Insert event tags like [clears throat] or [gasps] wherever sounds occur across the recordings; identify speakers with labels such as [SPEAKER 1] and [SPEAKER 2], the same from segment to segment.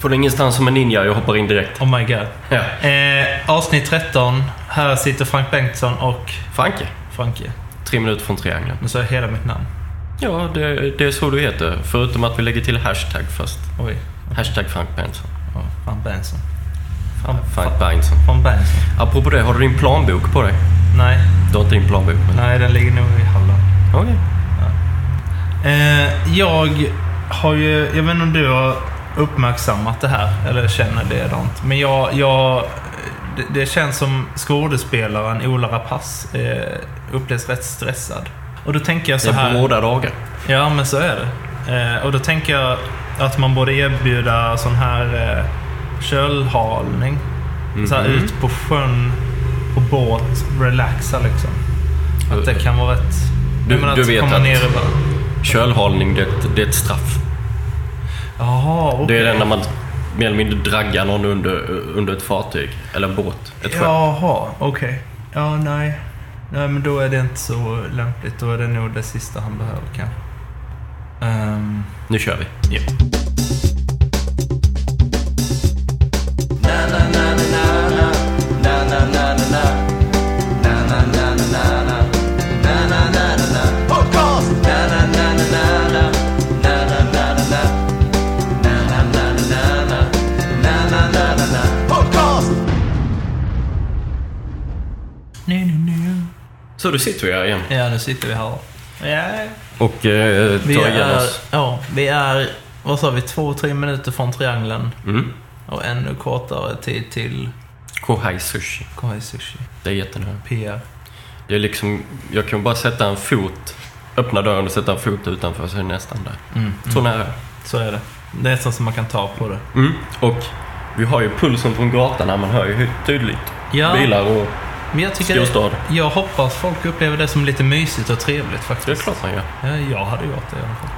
[SPEAKER 1] Från ingenstans som en ninja. Jag hoppar in direkt.
[SPEAKER 2] Oh my god.
[SPEAKER 1] Ja.
[SPEAKER 2] Eh, avsnitt 13. Här sitter Frank Bengtsson och
[SPEAKER 1] Franke.
[SPEAKER 2] Franke.
[SPEAKER 1] Tre minuter från triangeln.
[SPEAKER 2] Nu sa jag hela mitt namn.
[SPEAKER 1] Ja, det, det är så du heter. Förutom att vi lägger till hashtag först.
[SPEAKER 2] Oj.
[SPEAKER 1] Hashtag Frank Bengtsson.
[SPEAKER 2] Ja, Frank Bengtsson.
[SPEAKER 1] Frank Bengtsson.
[SPEAKER 2] Från Bengtsson?
[SPEAKER 1] Apropå det, har du din planbok på dig?
[SPEAKER 2] Nej.
[SPEAKER 1] Du har inte din planbok med dig?
[SPEAKER 2] Nej, den ligger nog i Halland.
[SPEAKER 1] Okej.
[SPEAKER 2] Eh, jag har ju, jag vet inte om du har uppmärksammat det här, eller känner det något. Men jag, jag det, det känns som skådespelaren Ola Rapace eh, upplevs rätt stressad. Och då tänker jag
[SPEAKER 1] Det
[SPEAKER 2] så
[SPEAKER 1] är
[SPEAKER 2] här.
[SPEAKER 1] bråda dagar.
[SPEAKER 2] Ja, men så är det. Eh, och då tänker jag att man borde erbjuda sån här eh, kölhalning. Så här
[SPEAKER 1] Mhm.
[SPEAKER 2] ut på sjön, på båt, relaxa liksom. Att det kan vara rätt...
[SPEAKER 1] Du-
[SPEAKER 2] Jag menar
[SPEAKER 1] du
[SPEAKER 2] att
[SPEAKER 1] vet
[SPEAKER 2] komma
[SPEAKER 1] att-
[SPEAKER 2] ner i bara...
[SPEAKER 1] Kölhalning, det, är ett- det är ett straff.
[SPEAKER 2] Jaha, okej.
[SPEAKER 1] Det är den när man mer eller mindre draggar någon under, under ett fartyg. Eller en båt. Ett skepp.
[SPEAKER 2] Jaha, okej. Ja, nej. Nej, men då är det inte så lämpligt. Då är det nog det sista han behöver kanske. Ehm,
[SPEAKER 1] Nu kör vi.
[SPEAKER 2] ja. Nej, nej, nej.
[SPEAKER 1] Så då sitter vi här igen.
[SPEAKER 2] Ja, nu sitter vi här. Ja,
[SPEAKER 1] Och eh, tar
[SPEAKER 2] vi
[SPEAKER 1] igen
[SPEAKER 2] är,
[SPEAKER 1] oss.
[SPEAKER 2] ja, vi är, vad sa vi, två, tre minuter från triangeln.
[SPEAKER 1] Mm.
[SPEAKER 2] Och ännu kortare tid till
[SPEAKER 1] Kohai sushi.
[SPEAKER 2] Kohai Sushi.
[SPEAKER 1] Det är jättenära.
[SPEAKER 2] PR.
[SPEAKER 1] Det är liksom, jag kan bara sätta en fot, öppna dörren och sätta en fot utanför så är det nästan där.
[SPEAKER 2] Mm.
[SPEAKER 1] Så nära.
[SPEAKER 2] Så är det. Det är nästan som man kan ta på det.
[SPEAKER 1] Mm. Och vi har ju pulsen från gatan här, man hör ju hur tydligt
[SPEAKER 2] Ja,
[SPEAKER 1] bilar och
[SPEAKER 2] men jag tycker det,
[SPEAKER 1] storstad.
[SPEAKER 2] Jag hoppas folk upplever det som lite mysigt och trevligt
[SPEAKER 1] Det är
[SPEAKER 2] faktiskt.
[SPEAKER 1] klart man gör.
[SPEAKER 2] Ja, jag hade gjort det i alla fall.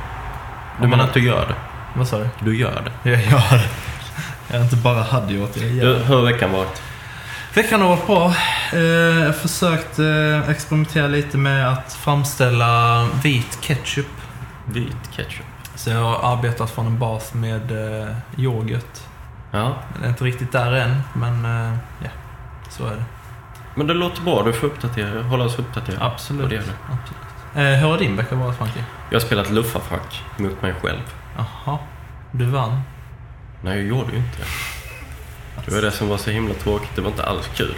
[SPEAKER 1] Du menar att du gör det?
[SPEAKER 2] Vad sa du?
[SPEAKER 1] Du gör det.
[SPEAKER 2] Jag gör det. Jag inte bara hade gjort det, jag gör
[SPEAKER 1] Du,
[SPEAKER 2] det.
[SPEAKER 1] hur har veckan varit?
[SPEAKER 2] Veckan har varit bra. Eh, Jag har försökt eh, experimentera lite med att framställa vit ketchup.
[SPEAKER 1] Vit ketchup.
[SPEAKER 2] Så jag har arbetat från en bas med eh, yoghurt.
[SPEAKER 1] Ja,
[SPEAKER 2] Jag är inte riktigt där än, men eh, ja, så är det.
[SPEAKER 1] men det låter bra. Du får uppdatera, hålla oss uppdaterade. Och
[SPEAKER 2] Absolut.
[SPEAKER 1] det gör du.
[SPEAKER 2] Absolut. Eh, Hur har din vecka varit Frankie?
[SPEAKER 1] Jag har spelat luffarfack mot mig själv.
[SPEAKER 2] Jaha, du vann.
[SPEAKER 1] Nej, jag gjorde ju inte det. Det var det som var så himla tråkigt. Det var inte alls kul.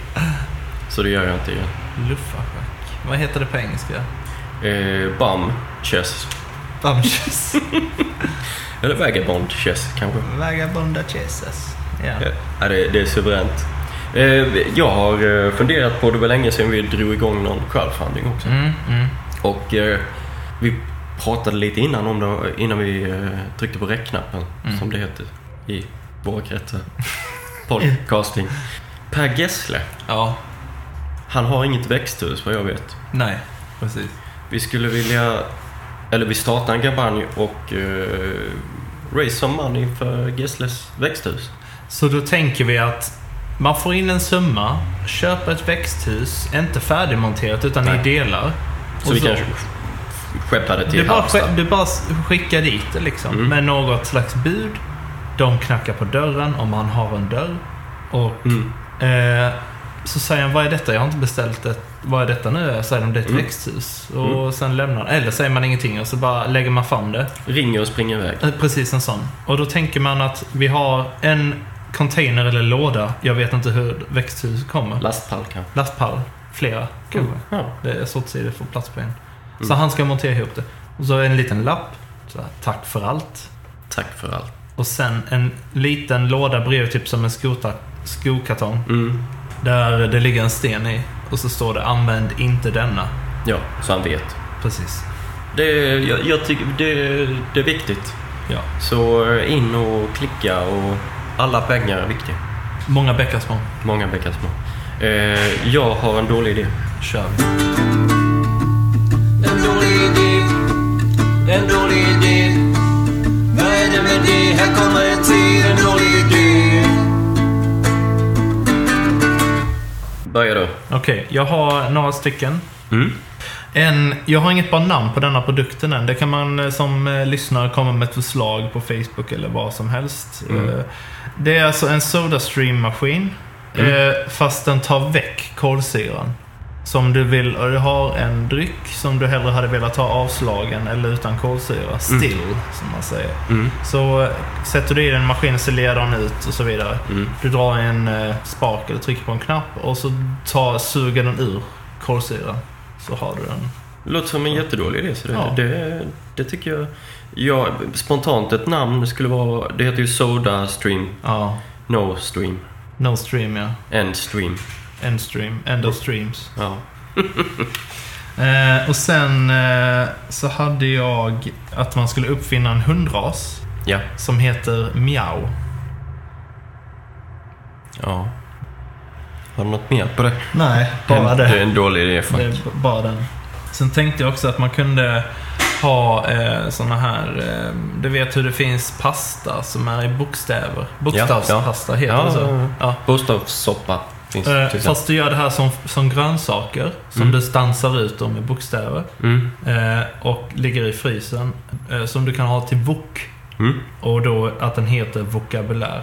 [SPEAKER 1] Så det gör jag inte igen.
[SPEAKER 2] Luffarschack. Vad heter det på engelska?
[SPEAKER 1] Eh, bam, chess.
[SPEAKER 2] Bamchess.
[SPEAKER 1] Eller vagabond chess kanske.
[SPEAKER 2] Vagabonda chesses. Ja.
[SPEAKER 1] Ja, det, det är suveränt. Eh, jag har eh, funderat på det var länge sedan vi drog igång någon crowdfunding också.
[SPEAKER 2] Mm, mm.
[SPEAKER 1] Och eh, vi pratade lite innan om det, innan vi eh, tryckte på räckknappen,
[SPEAKER 2] Mm.
[SPEAKER 1] som det heter i våra kretsar. Podcasting. Per Gessle,
[SPEAKER 2] Ja,
[SPEAKER 1] han har inget växthus vad jag vet.
[SPEAKER 2] nej. Precis.
[SPEAKER 1] Vi skulle vilja, eller vi startar en kampanj och eh, raise some money för Gessles växthus.
[SPEAKER 2] Så då tänker vi att man får in en summa, köper ett växthus, inte färdigmonterat utan
[SPEAKER 1] Nej.
[SPEAKER 2] i delar.
[SPEAKER 1] Så
[SPEAKER 2] Och
[SPEAKER 1] vi kanske skeppar det
[SPEAKER 2] du,
[SPEAKER 1] till
[SPEAKER 2] bara,
[SPEAKER 1] Halmstad.
[SPEAKER 2] sk- du bara s- skickar dit det liksom
[SPEAKER 1] Mm.
[SPEAKER 2] med något slags bud. De knackar på dörren om man har en dörr. Och
[SPEAKER 1] Mm.
[SPEAKER 2] Eh, så säger han, vad är detta? Jag har inte beställt ett... Vad är detta nu? Jag säger de, det är ett
[SPEAKER 1] Mm.
[SPEAKER 2] växthus. Och sen lämnar Eller säger man ingenting och så bara lägger man fram det.
[SPEAKER 1] Ringer och springer iväg.
[SPEAKER 2] Eh, Precis en sån. Och då tänker man att vi har en container eller låda. Jag vet inte hur växthus kommer.
[SPEAKER 1] Lastpall kanske.
[SPEAKER 2] Lastpall.
[SPEAKER 1] Mm.
[SPEAKER 2] Flera kanske.
[SPEAKER 1] Ja.
[SPEAKER 2] Det är så att säga, det får plats på en.
[SPEAKER 1] Mm.
[SPEAKER 2] Så han ska montera ihop det. Och så en liten lapp. Så här, Tack för allt.
[SPEAKER 1] Tack för allt.
[SPEAKER 2] Och sen en liten låda bredvid, typ som en skota, skokartong.
[SPEAKER 1] Mm.
[SPEAKER 2] Där det ligger en sten i och så står det använd inte denna.
[SPEAKER 1] Ja, så han vet.
[SPEAKER 2] Precis.
[SPEAKER 1] Det, jag, jag tycker det, det är viktigt.
[SPEAKER 2] Ja.
[SPEAKER 1] Så eh, in och klicka och alla pengar är viktiga.
[SPEAKER 2] Många bäckar små.
[SPEAKER 1] Många bäckar små. Eh, jag har en dålig idé.
[SPEAKER 2] Kör vi.
[SPEAKER 3] En dålig idé, en dålig idé. Vad är det med det? Här kommer en till, en dålig idé.
[SPEAKER 1] Börja du.
[SPEAKER 2] Okej, jag har några stycken.
[SPEAKER 1] Mm.
[SPEAKER 2] En, jag har inget bra namn på denna produkten än. Det kan man eh, som eh, lyssnare komma med ett förslag på Facebook eller vad som helst.
[SPEAKER 1] Mm.
[SPEAKER 2] Eh, det är alltså en Sodastream-maskin. Eh, fast den tar väck kolsyran. Som du vill, och du har en dryck som du hellre hade velat ha avslagen eller utan kolsyra. Still, som man säger.
[SPEAKER 1] Mm.
[SPEAKER 2] Så eh, sätter du i den maskinen så leder den ut och så vidare.
[SPEAKER 1] Mm.
[SPEAKER 2] Du drar en eh, spak eller trycker på en knapp och så tar, suger den ur kolsyran. Så har du den.
[SPEAKER 1] Låter som en jättedålig idé. Så det,
[SPEAKER 2] Ja.
[SPEAKER 1] det, det tycker jag. Ja, spontant ett namn skulle vara... Det heter ju Soda Stream,
[SPEAKER 2] Ja.
[SPEAKER 1] No Stream,
[SPEAKER 2] No stream ja.
[SPEAKER 1] End Stream.
[SPEAKER 2] End stream. End of streams.
[SPEAKER 1] Ja.
[SPEAKER 2] Eh, och sen eh, så hade jag att man skulle uppfinna en hundras
[SPEAKER 1] Ja.
[SPEAKER 2] som heter Miao.
[SPEAKER 1] ja. Har du något mer på det?
[SPEAKER 2] Nej, bara
[SPEAKER 1] det. är
[SPEAKER 2] det.
[SPEAKER 1] en dålig idé
[SPEAKER 2] Det är
[SPEAKER 1] faktiskt.
[SPEAKER 2] b- bara den. Sen tänkte jag också att man kunde ha eh, såna här, eh, du vet hur det finns pasta som är i bokstäver. Bokstavspasta heter
[SPEAKER 1] Ja,
[SPEAKER 2] det så.
[SPEAKER 1] ja,
[SPEAKER 2] Ja.
[SPEAKER 1] Bostadssoppa finns
[SPEAKER 2] Eh,
[SPEAKER 1] till exempel.
[SPEAKER 2] Fast du gör det här som, som grönsaker som
[SPEAKER 1] Mm.
[SPEAKER 2] du stansar ut dem med bokstäver.
[SPEAKER 1] Mm.
[SPEAKER 2] Eh, och ligger i frysen. Eh, som du kan ha till VOK.
[SPEAKER 1] Mm.
[SPEAKER 2] Och då att den heter vokabulär.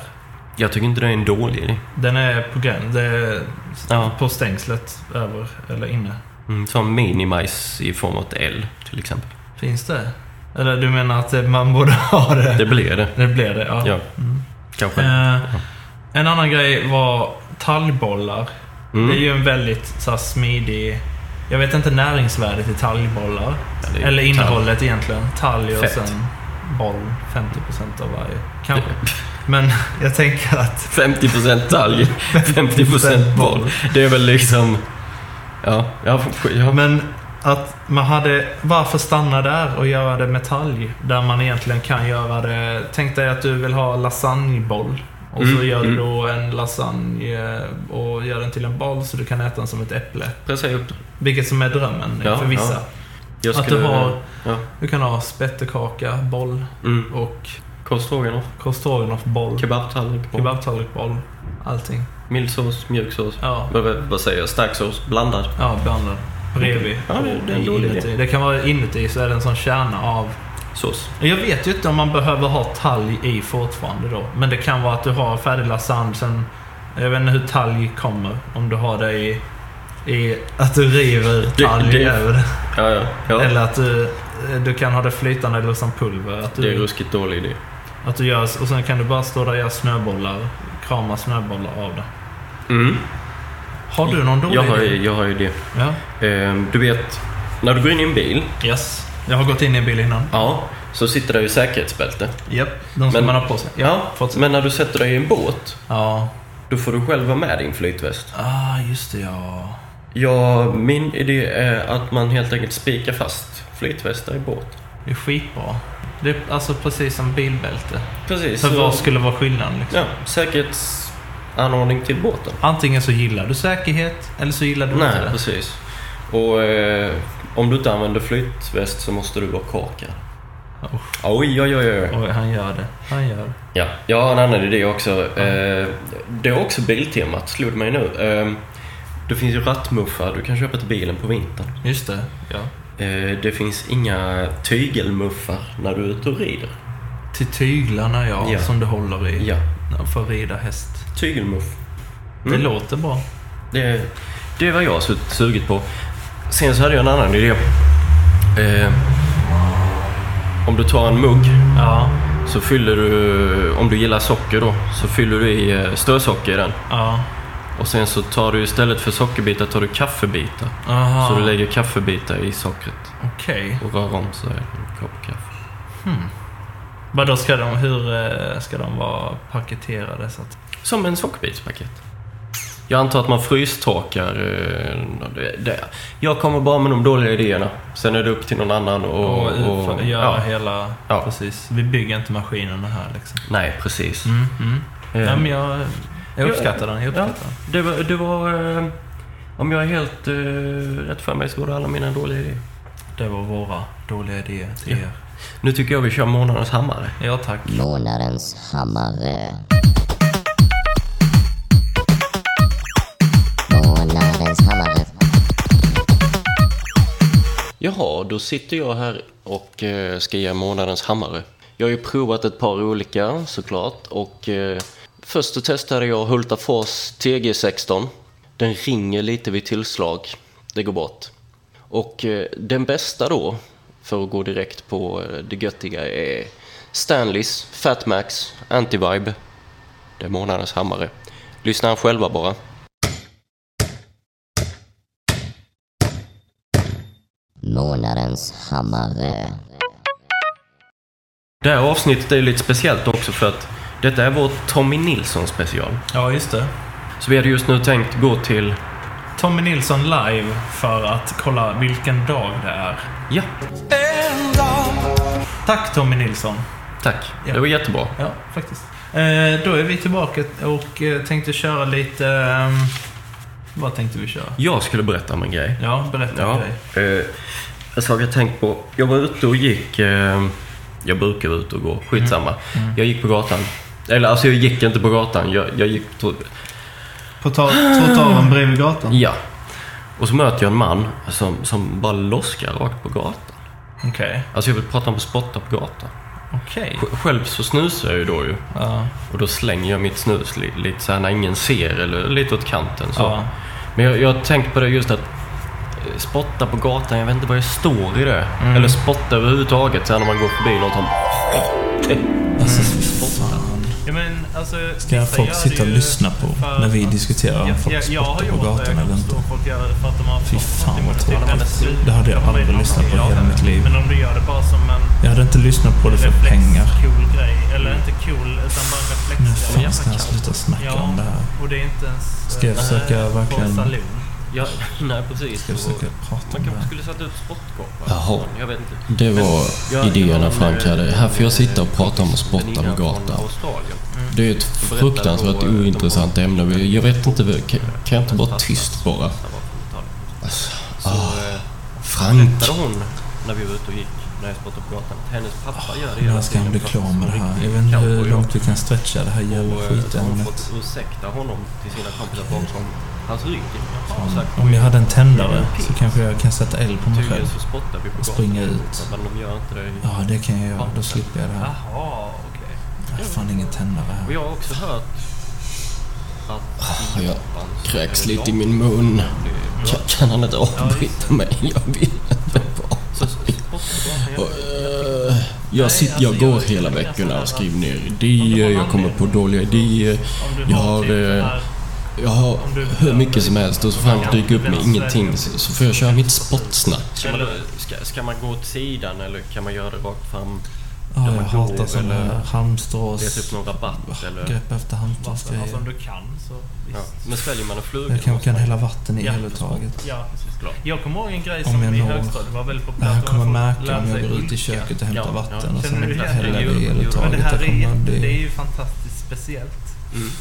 [SPEAKER 1] Jag tycker inte det är en dålig idé.
[SPEAKER 2] Den är på grän, det är
[SPEAKER 1] Ja.
[SPEAKER 2] på stängslet över eller inne.
[SPEAKER 1] Mm, som minimajs i form av ett L till exempel.
[SPEAKER 2] Finns det? Eller du menar att eh, man borde [laughs] ha det?
[SPEAKER 1] Det blir det.
[SPEAKER 2] Det blir det, ja.
[SPEAKER 1] Ja,
[SPEAKER 2] Mm.
[SPEAKER 1] kanske.
[SPEAKER 2] Eh, en annan grej var talgbollar.
[SPEAKER 1] Mm.
[SPEAKER 2] Det är ju en väldigt så här, smidig... Jag vet inte näringsvärdet i talgbollar.
[SPEAKER 1] Ja, det är ju
[SPEAKER 2] Eller
[SPEAKER 1] talg.
[SPEAKER 2] innehållet egentligen. Talg och
[SPEAKER 1] Fett.
[SPEAKER 2] sen boll. 50% av varje. Kanske. Men [laughs] jag tänker att...
[SPEAKER 1] 50% talg,
[SPEAKER 2] [laughs]
[SPEAKER 1] 50% boll. Det är väl liksom... Ja, jag, jag,
[SPEAKER 2] Men att man hade... Varför stanna där och göra det med talg? Där man egentligen kan göra det... Tänk dig att du vill ha lasagneboll. Och så
[SPEAKER 1] Mm,
[SPEAKER 2] gör du
[SPEAKER 1] mm.
[SPEAKER 2] då en lasagne och gör den till en boll så du kan äta den som ett äpple.
[SPEAKER 1] pressar upp det.
[SPEAKER 2] Vilket som är drömmen
[SPEAKER 1] Ja,
[SPEAKER 2] för vissa.
[SPEAKER 1] ja. Jag
[SPEAKER 2] Att du har-
[SPEAKER 1] Ja.
[SPEAKER 2] Du kan ha spettekaka, boll
[SPEAKER 1] Mm.
[SPEAKER 2] och
[SPEAKER 1] Korvstroganoff,
[SPEAKER 2] korv boll.
[SPEAKER 1] kebabtallrik, boll,
[SPEAKER 2] Kebabtallrik, boll. Allting.
[SPEAKER 1] mild sås, mjuk sås.
[SPEAKER 2] Ja,
[SPEAKER 1] Vad, vad- vad säger jag? Stark sås, blandad.
[SPEAKER 2] ja bönor. Bredvid.
[SPEAKER 1] Ja, det- det är en dålig idé.
[SPEAKER 2] inuti. det kan vara inuti så är det en sån kärna av...
[SPEAKER 1] Sås.
[SPEAKER 2] Jag vet ju inte om man behöver ha talg i fortfarande då. Men det kan vara att du har färdig lasagne sen... Jag vet inte hur talg kommer. Om du har det i... i att du river
[SPEAKER 1] Det-
[SPEAKER 2] talg
[SPEAKER 1] det-
[SPEAKER 2] över det.
[SPEAKER 1] Ja, ja. ja.
[SPEAKER 2] Eller att du, du kan ha det flytande eller som pulver. Att du,
[SPEAKER 1] Det är ruskigt dålig idé.
[SPEAKER 2] Att du gör, och sen kan du bara stå där och göra snöbollar. Krama snöbollar av det.
[SPEAKER 1] Mm.
[SPEAKER 2] Har du någon dålig
[SPEAKER 1] Jag, har,
[SPEAKER 2] idé?
[SPEAKER 1] ju- jag har ju det.
[SPEAKER 2] Ja.
[SPEAKER 1] Ehm, Du vet, när du går in i en bil,
[SPEAKER 2] Yes. Jag har gått in i en bil innan.
[SPEAKER 1] ja, så sitter det ju säkerhetsbälte.
[SPEAKER 2] Japp. De ska
[SPEAKER 1] Men-
[SPEAKER 2] man ha på sig. Ja.
[SPEAKER 1] Ja,
[SPEAKER 2] fortsätt.
[SPEAKER 1] men när du sätter dig i en båt,
[SPEAKER 2] ja.
[SPEAKER 1] då får du själv vara med din flytväst.
[SPEAKER 2] Ah, just det ja.
[SPEAKER 1] Ja, min idé är att man helt enkelt spikar fast flytvästar i båt.
[SPEAKER 2] Det är skitbra. Det är alltså precis som bilbälte.
[SPEAKER 1] Precis.
[SPEAKER 2] Så
[SPEAKER 1] så-
[SPEAKER 2] vad skulle vara skillnaden liksom?
[SPEAKER 1] Ja, säkerhetsanordning till båten.
[SPEAKER 2] Antingen så gillar du säkerhet, eller så gillar du inte
[SPEAKER 1] Nej,
[SPEAKER 2] det.
[SPEAKER 1] precis. Och eh, om du inte använder flytväst så måste du vara kakad.
[SPEAKER 2] Usch.
[SPEAKER 1] Oj, oj, oj, oj.
[SPEAKER 2] Oj, han gör det. Han gör det.
[SPEAKER 1] Ja, jag har en annan idé också. Eh, det är också biltemat, slog det mig nu. Eh, det finns ju rattmuffar du kan köpa till bilen på vintern.
[SPEAKER 2] Just det. Ja.
[SPEAKER 1] Eh, det finns inga tygelmuffar när du är ute och rider.
[SPEAKER 2] Till tyglarna ja,
[SPEAKER 1] Ja.
[SPEAKER 2] som du håller i.
[SPEAKER 1] Ja,
[SPEAKER 2] För att rida häst.
[SPEAKER 1] tygelmuff.
[SPEAKER 2] Det
[SPEAKER 1] Mm.
[SPEAKER 2] låter bra.
[SPEAKER 1] Det, det var jag su- sugit på. Sen så hade jag en annan idé. Eh, om du tar en mugg
[SPEAKER 2] Ja.
[SPEAKER 1] så fyller du, om du gillar socker då, så fyller du i eh, strösocker i den.
[SPEAKER 2] Ja.
[SPEAKER 1] Och sen så tar du istället för sockerbitar tar du kaffebitar.
[SPEAKER 2] Aha.
[SPEAKER 1] Så du lägger kaffebitar i sockret
[SPEAKER 2] Okej.
[SPEAKER 1] och rör om så är det en kopp kaffe.
[SPEAKER 2] Vadå, ska de, hur eh, ska de vara paketerade? Så att,
[SPEAKER 1] Som en sockerbitspaket. Jag antar att man frystorkar... eh, Det, det. Jag kommer bara med de dåliga idéerna. Sen är det upp till någon annan och...
[SPEAKER 2] och utför- göra
[SPEAKER 1] ja.
[SPEAKER 2] hela...
[SPEAKER 1] Ja.
[SPEAKER 2] Precis. Vi bygger inte maskinerna här liksom.
[SPEAKER 1] Nej, precis.
[SPEAKER 2] Mm, mm.
[SPEAKER 1] Eh,
[SPEAKER 2] Nej, men jag, jag uppskattar den. Jag
[SPEAKER 1] Ja.
[SPEAKER 2] uppskattar den.
[SPEAKER 1] Det var... Det var eh, om jag är helt eh, rätt för mig så var det alla mina dåliga idéer.
[SPEAKER 2] Det var våra dåliga idéer till er.
[SPEAKER 1] Nu tycker jag vi kör månadens hammare.
[SPEAKER 2] Ja, tack.
[SPEAKER 4] Månadens hammare. Månadens hammare.
[SPEAKER 1] Jaha, då sitter jag här och eh, ska ge månadens hammare. Jag har ju provat ett par olika såklart och eh, först så testade jag Hultafors TG16. Den ringer lite vid tillslag, det går bort. Och eh, den bästa då, för att gå direkt på eh, det göttiga, är Stanleys Fatmax Antivibe. Det är månadens hammare. Lyssna själva bara.
[SPEAKER 4] Månadens hammare.
[SPEAKER 1] Det här avsnittet är lite speciellt också för att detta är vår Tommy Nilsson special.
[SPEAKER 2] Ja, just det.
[SPEAKER 1] Så vi hade just nu tänkt gå till...
[SPEAKER 2] Tommy Nilsson live för att kolla vilken dag det är.
[SPEAKER 1] Ja,
[SPEAKER 2] Tack Tommy Nilsson.
[SPEAKER 1] tack.
[SPEAKER 2] Ja.
[SPEAKER 1] Det var jättebra.
[SPEAKER 2] Ja, faktiskt. Eh, då är vi tillbaka och eh, tänkte köra lite... ehm, vad tänkte vi köra?
[SPEAKER 1] Jag skulle berätta om en grej.
[SPEAKER 2] Ja, berätta en
[SPEAKER 1] Ja.
[SPEAKER 2] grej.
[SPEAKER 1] Eh, en sak jag tänkt på. Jag var ute och gick... Eh, jag brukar vara ute och
[SPEAKER 2] Mm.
[SPEAKER 1] gå. Skitsamma. Jag gick på gatan. Eller alltså jag gick inte på gatan. Jag, jag gick... På,
[SPEAKER 2] På ta- trottoaren bredvid gatan?
[SPEAKER 1] ja. Och så möter jag en man som, som bara loskar rakt på gatan.
[SPEAKER 2] Okej.
[SPEAKER 1] Alltså jag vill prata om att spotta på gatan.
[SPEAKER 2] Okej.
[SPEAKER 1] Sj- Själv så snusar jag ju då ju.
[SPEAKER 2] Ja.
[SPEAKER 1] Och då slänger jag mitt snus li, lite så här när ingen ser eller lite åt kanten. Så.
[SPEAKER 2] Ja.
[SPEAKER 1] Men jag, jag har tänkt på det just att eh, spotta på gatan, jag vet inte vad jag står i det. Eller spotta överhuvudtaget sen när man går förbi något.
[SPEAKER 2] Ja, men alltså...
[SPEAKER 5] Mm. Ska
[SPEAKER 2] vissa
[SPEAKER 5] folk
[SPEAKER 2] gör
[SPEAKER 5] sitta och
[SPEAKER 2] det ju
[SPEAKER 5] lyssna på
[SPEAKER 2] för
[SPEAKER 5] när vi
[SPEAKER 2] att-
[SPEAKER 5] diskuterar om
[SPEAKER 2] Ja,
[SPEAKER 5] folk
[SPEAKER 2] ja, jag har
[SPEAKER 5] spottar
[SPEAKER 2] gjort
[SPEAKER 5] på
[SPEAKER 2] det.
[SPEAKER 5] gatan eller
[SPEAKER 2] Jag
[SPEAKER 5] inte?
[SPEAKER 2] förstår folk gör det för att de har
[SPEAKER 5] Fy fan, vad tråkigt.
[SPEAKER 2] tråkigt.
[SPEAKER 5] Det hade jag aldrig lyssnat på i hela mitt liv.
[SPEAKER 2] Men om du gör det bara som en
[SPEAKER 5] Jag hade inte lyssnat på det för
[SPEAKER 2] reflex,
[SPEAKER 5] pengar. Mm,
[SPEAKER 2] cool grej. Eller inte cool, utan bara en reflex.
[SPEAKER 5] Nu
[SPEAKER 2] Ja,
[SPEAKER 5] fan ska
[SPEAKER 2] men
[SPEAKER 5] jag
[SPEAKER 2] kanske.
[SPEAKER 5] sluta snacka
[SPEAKER 2] Ja,
[SPEAKER 5] om det här.
[SPEAKER 2] och det är inte ens...
[SPEAKER 5] Ska jag
[SPEAKER 2] eh,
[SPEAKER 5] försöka
[SPEAKER 2] på en
[SPEAKER 5] verkligen-
[SPEAKER 2] saloon.
[SPEAKER 1] Ja, [laughs] nej precis.
[SPEAKER 5] Ska jag försöka prata om det här?
[SPEAKER 1] skulle sätta upp spottkoppar.
[SPEAKER 6] Jaha.
[SPEAKER 1] Jag vet inte.
[SPEAKER 6] Det var
[SPEAKER 1] Jag- jag var
[SPEAKER 6] idéerna
[SPEAKER 1] med-
[SPEAKER 6] Frank hade. Här får jag sitta och prata om att spotta
[SPEAKER 1] Väninnan
[SPEAKER 6] på gatan.
[SPEAKER 1] från Australien.
[SPEAKER 6] Det är ett fruktansvärt ointressant ämne. Jag vet inte, kan- kan jag inte vara tyst bara?
[SPEAKER 1] Alltså,
[SPEAKER 6] Alltså, ah,
[SPEAKER 1] Så eh,
[SPEAKER 6] Frank!
[SPEAKER 1] berättade hon när vi var ute och gick, när jag spottade på gatan, att hennes pappa gör det hela
[SPEAKER 5] När ska han
[SPEAKER 1] tiden
[SPEAKER 5] bli
[SPEAKER 1] fast
[SPEAKER 5] klar
[SPEAKER 1] som
[SPEAKER 5] med det här? Jag
[SPEAKER 1] riktig
[SPEAKER 5] vet inte hur
[SPEAKER 1] cowboy.
[SPEAKER 5] långt vi kan stretcha det här
[SPEAKER 1] Och, eh,
[SPEAKER 5] jävla
[SPEAKER 1] så har hon
[SPEAKER 5] skitämnet.
[SPEAKER 1] fått ursäkta honom till sina kompisar bakom hans rygg. Jaha, har sagt.
[SPEAKER 5] Om jag hade en tändare så kanske jag kan sätta eld på mig
[SPEAKER 1] Tydligen
[SPEAKER 5] själv.
[SPEAKER 1] så spottar vi på
[SPEAKER 5] Och
[SPEAKER 1] gatan.
[SPEAKER 5] springa ut.
[SPEAKER 1] Men de gör inte det. i-
[SPEAKER 5] Ja, det kan jag göra. Då slipper jag det här.
[SPEAKER 2] Jaha, okej.
[SPEAKER 5] Jag har fan ingen tändare
[SPEAKER 1] Och
[SPEAKER 5] här.
[SPEAKER 1] jag har också hört att...
[SPEAKER 6] Ah, jag
[SPEAKER 1] Japan så-
[SPEAKER 6] Kräks
[SPEAKER 1] eller
[SPEAKER 6] lite i
[SPEAKER 1] Japan
[SPEAKER 6] min mun.
[SPEAKER 1] blir-
[SPEAKER 6] Kan, kan han inte avbryta mig? Jag vill inte vara...
[SPEAKER 1] Så spottar på gatan.
[SPEAKER 6] Eh, Jag, sitter, jag går hela veckorna och skriver ner idéer, jag kommer på dåliga idéer.
[SPEAKER 2] typ Om du
[SPEAKER 6] Jag
[SPEAKER 2] har
[SPEAKER 6] har,
[SPEAKER 2] typ det
[SPEAKER 6] eh,
[SPEAKER 2] här...
[SPEAKER 6] Jag har hur mycket som helst och så Frank dyker upp med ingenting så så får jag köra mitt spottsnack.
[SPEAKER 1] Ska man, då- ska, ska man gå åt sidan eller kan man göra det rakt fram?
[SPEAKER 5] Ja, jag
[SPEAKER 1] man
[SPEAKER 5] hatar
[SPEAKER 1] går eller-
[SPEAKER 5] såna här
[SPEAKER 1] Det är typ
[SPEAKER 5] halmstrås...
[SPEAKER 1] någon rabatt eller...
[SPEAKER 5] Grepp
[SPEAKER 2] Alltså,
[SPEAKER 5] efter
[SPEAKER 2] om
[SPEAKER 5] halmstråsgrejer.
[SPEAKER 2] du kan så
[SPEAKER 1] Ja.
[SPEAKER 2] visst.
[SPEAKER 1] Men sväljer man en fluga?
[SPEAKER 5] Jag kanske
[SPEAKER 1] måste
[SPEAKER 5] kan
[SPEAKER 1] man-
[SPEAKER 5] hälla vatten i
[SPEAKER 2] Ja,
[SPEAKER 5] hela taget.
[SPEAKER 2] Ja, precis.
[SPEAKER 1] Klart.
[SPEAKER 2] Jag kommer ihåg en grej
[SPEAKER 5] Om
[SPEAKER 2] som
[SPEAKER 5] jag
[SPEAKER 2] i
[SPEAKER 5] når-
[SPEAKER 2] högstadiet var väldigt
[SPEAKER 5] Det
[SPEAKER 2] populärt.
[SPEAKER 5] här kommer
[SPEAKER 2] att man får
[SPEAKER 5] märka om jag
[SPEAKER 2] lära sig
[SPEAKER 5] går ut i
[SPEAKER 2] ulka.
[SPEAKER 5] köket och
[SPEAKER 1] Ja,
[SPEAKER 5] hämtar
[SPEAKER 1] ja.
[SPEAKER 5] vatten och sen
[SPEAKER 2] Känner du det?
[SPEAKER 5] häller det i hela
[SPEAKER 1] Ja,
[SPEAKER 2] Men det
[SPEAKER 5] taget.
[SPEAKER 2] här
[SPEAKER 5] Jag
[SPEAKER 2] är, jätte-
[SPEAKER 5] kommer-
[SPEAKER 2] det är
[SPEAKER 5] Det
[SPEAKER 2] ju fantastiskt speciellt.
[SPEAKER 1] Mm.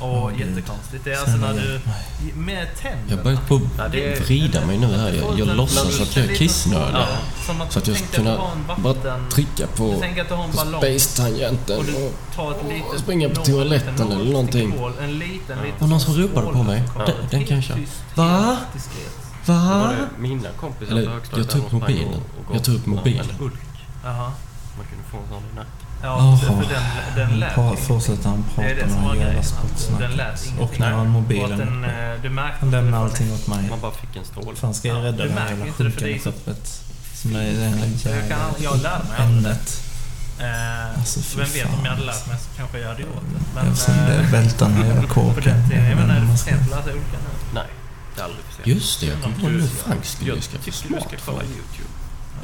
[SPEAKER 2] Och
[SPEAKER 5] Åh, Gud.
[SPEAKER 2] jättekonstigt. Det är alltså
[SPEAKER 5] Snälla
[SPEAKER 2] när du...
[SPEAKER 5] hjälp mig.
[SPEAKER 2] Med tänderna.
[SPEAKER 6] Jag börjar på att vrida mig nu här. Jag, jag låtsas att jag är
[SPEAKER 1] Ja.
[SPEAKER 6] kissnödig.
[SPEAKER 2] Som att
[SPEAKER 6] Så att
[SPEAKER 2] du
[SPEAKER 6] jag
[SPEAKER 2] tänkte
[SPEAKER 6] ska
[SPEAKER 2] att du
[SPEAKER 6] kunna
[SPEAKER 2] har en
[SPEAKER 6] bara
[SPEAKER 2] vatten...
[SPEAKER 6] trycka
[SPEAKER 2] Du
[SPEAKER 6] på
[SPEAKER 2] tänker att du har en ballong.
[SPEAKER 6] space-tangenten
[SPEAKER 2] Och du
[SPEAKER 6] och...
[SPEAKER 2] tar ett litet...
[SPEAKER 6] springa på
[SPEAKER 2] nål,
[SPEAKER 6] toaletten
[SPEAKER 2] liten
[SPEAKER 6] eller
[SPEAKER 2] nål,
[SPEAKER 6] någonting.
[SPEAKER 2] stickbål, En liten, liten...
[SPEAKER 6] Och någon som
[SPEAKER 2] sån
[SPEAKER 6] ropade på
[SPEAKER 2] skål,
[SPEAKER 6] mig.
[SPEAKER 2] så kommer
[SPEAKER 6] Den-
[SPEAKER 2] det
[SPEAKER 6] den
[SPEAKER 2] helt
[SPEAKER 6] kan jag köra.
[SPEAKER 2] tyst,
[SPEAKER 6] Va?
[SPEAKER 2] helt diskret.
[SPEAKER 1] Var
[SPEAKER 6] Va?
[SPEAKER 1] det mina kompisar
[SPEAKER 6] Eller,
[SPEAKER 1] på högstadiet
[SPEAKER 6] jag
[SPEAKER 1] där
[SPEAKER 6] tog
[SPEAKER 1] de sprang
[SPEAKER 6] mobilen.
[SPEAKER 1] och- och gav
[SPEAKER 6] Jag tog
[SPEAKER 1] sån här
[SPEAKER 6] mobilen.
[SPEAKER 1] en Hulk.
[SPEAKER 2] Jaha.
[SPEAKER 1] Man kunde få en sån i nacken.
[SPEAKER 2] Ja,
[SPEAKER 5] Jaha.
[SPEAKER 2] för den, den lät
[SPEAKER 5] Bara
[SPEAKER 2] ingenting.
[SPEAKER 5] fortsätter han
[SPEAKER 2] Det är
[SPEAKER 5] prata
[SPEAKER 2] det som
[SPEAKER 5] om
[SPEAKER 2] var
[SPEAKER 5] det här jävla
[SPEAKER 2] grejen. Den
[SPEAKER 5] spottsnacket.
[SPEAKER 2] lät
[SPEAKER 5] Och
[SPEAKER 2] ingenting.
[SPEAKER 5] när han
[SPEAKER 2] Och att den,
[SPEAKER 5] mobilen
[SPEAKER 2] eh, du märkte
[SPEAKER 5] Han
[SPEAKER 2] inte det
[SPEAKER 5] lämnar
[SPEAKER 2] förrän
[SPEAKER 5] allting åt mig.
[SPEAKER 1] Man bara fick en stråle.
[SPEAKER 5] Fan ska
[SPEAKER 2] Ja,
[SPEAKER 5] jag rädda
[SPEAKER 2] du
[SPEAKER 5] det här
[SPEAKER 2] märker
[SPEAKER 5] jävla
[SPEAKER 2] inte det, för det är
[SPEAKER 5] sjunkande
[SPEAKER 2] så-
[SPEAKER 5] skeppet? Som är det här
[SPEAKER 2] Jag, kan, jag lärde mig aldrig det.
[SPEAKER 5] ämnet.
[SPEAKER 2] Eh,
[SPEAKER 5] Alltså, fy
[SPEAKER 2] vem vet om jag hade
[SPEAKER 5] fan.
[SPEAKER 2] lärt mig så kanske jag hade gjort det. Men,
[SPEAKER 5] Eftersom
[SPEAKER 2] eh,
[SPEAKER 5] det vältar
[SPEAKER 2] [laughs]
[SPEAKER 5] den här jävla
[SPEAKER 2] på
[SPEAKER 5] kåken.
[SPEAKER 2] den tiden, jag menar, är det
[SPEAKER 5] Man
[SPEAKER 2] för
[SPEAKER 5] ska-
[SPEAKER 2] sent att lära sig olika nu?
[SPEAKER 1] Nej, det är aldrig för sent.
[SPEAKER 6] Just det, jag kom på nu.
[SPEAKER 1] Du-
[SPEAKER 6] Frank skulle ju
[SPEAKER 1] Jag
[SPEAKER 6] skaffa
[SPEAKER 1] tycker du ska kolla
[SPEAKER 6] smartphone.
[SPEAKER 1] YouTube.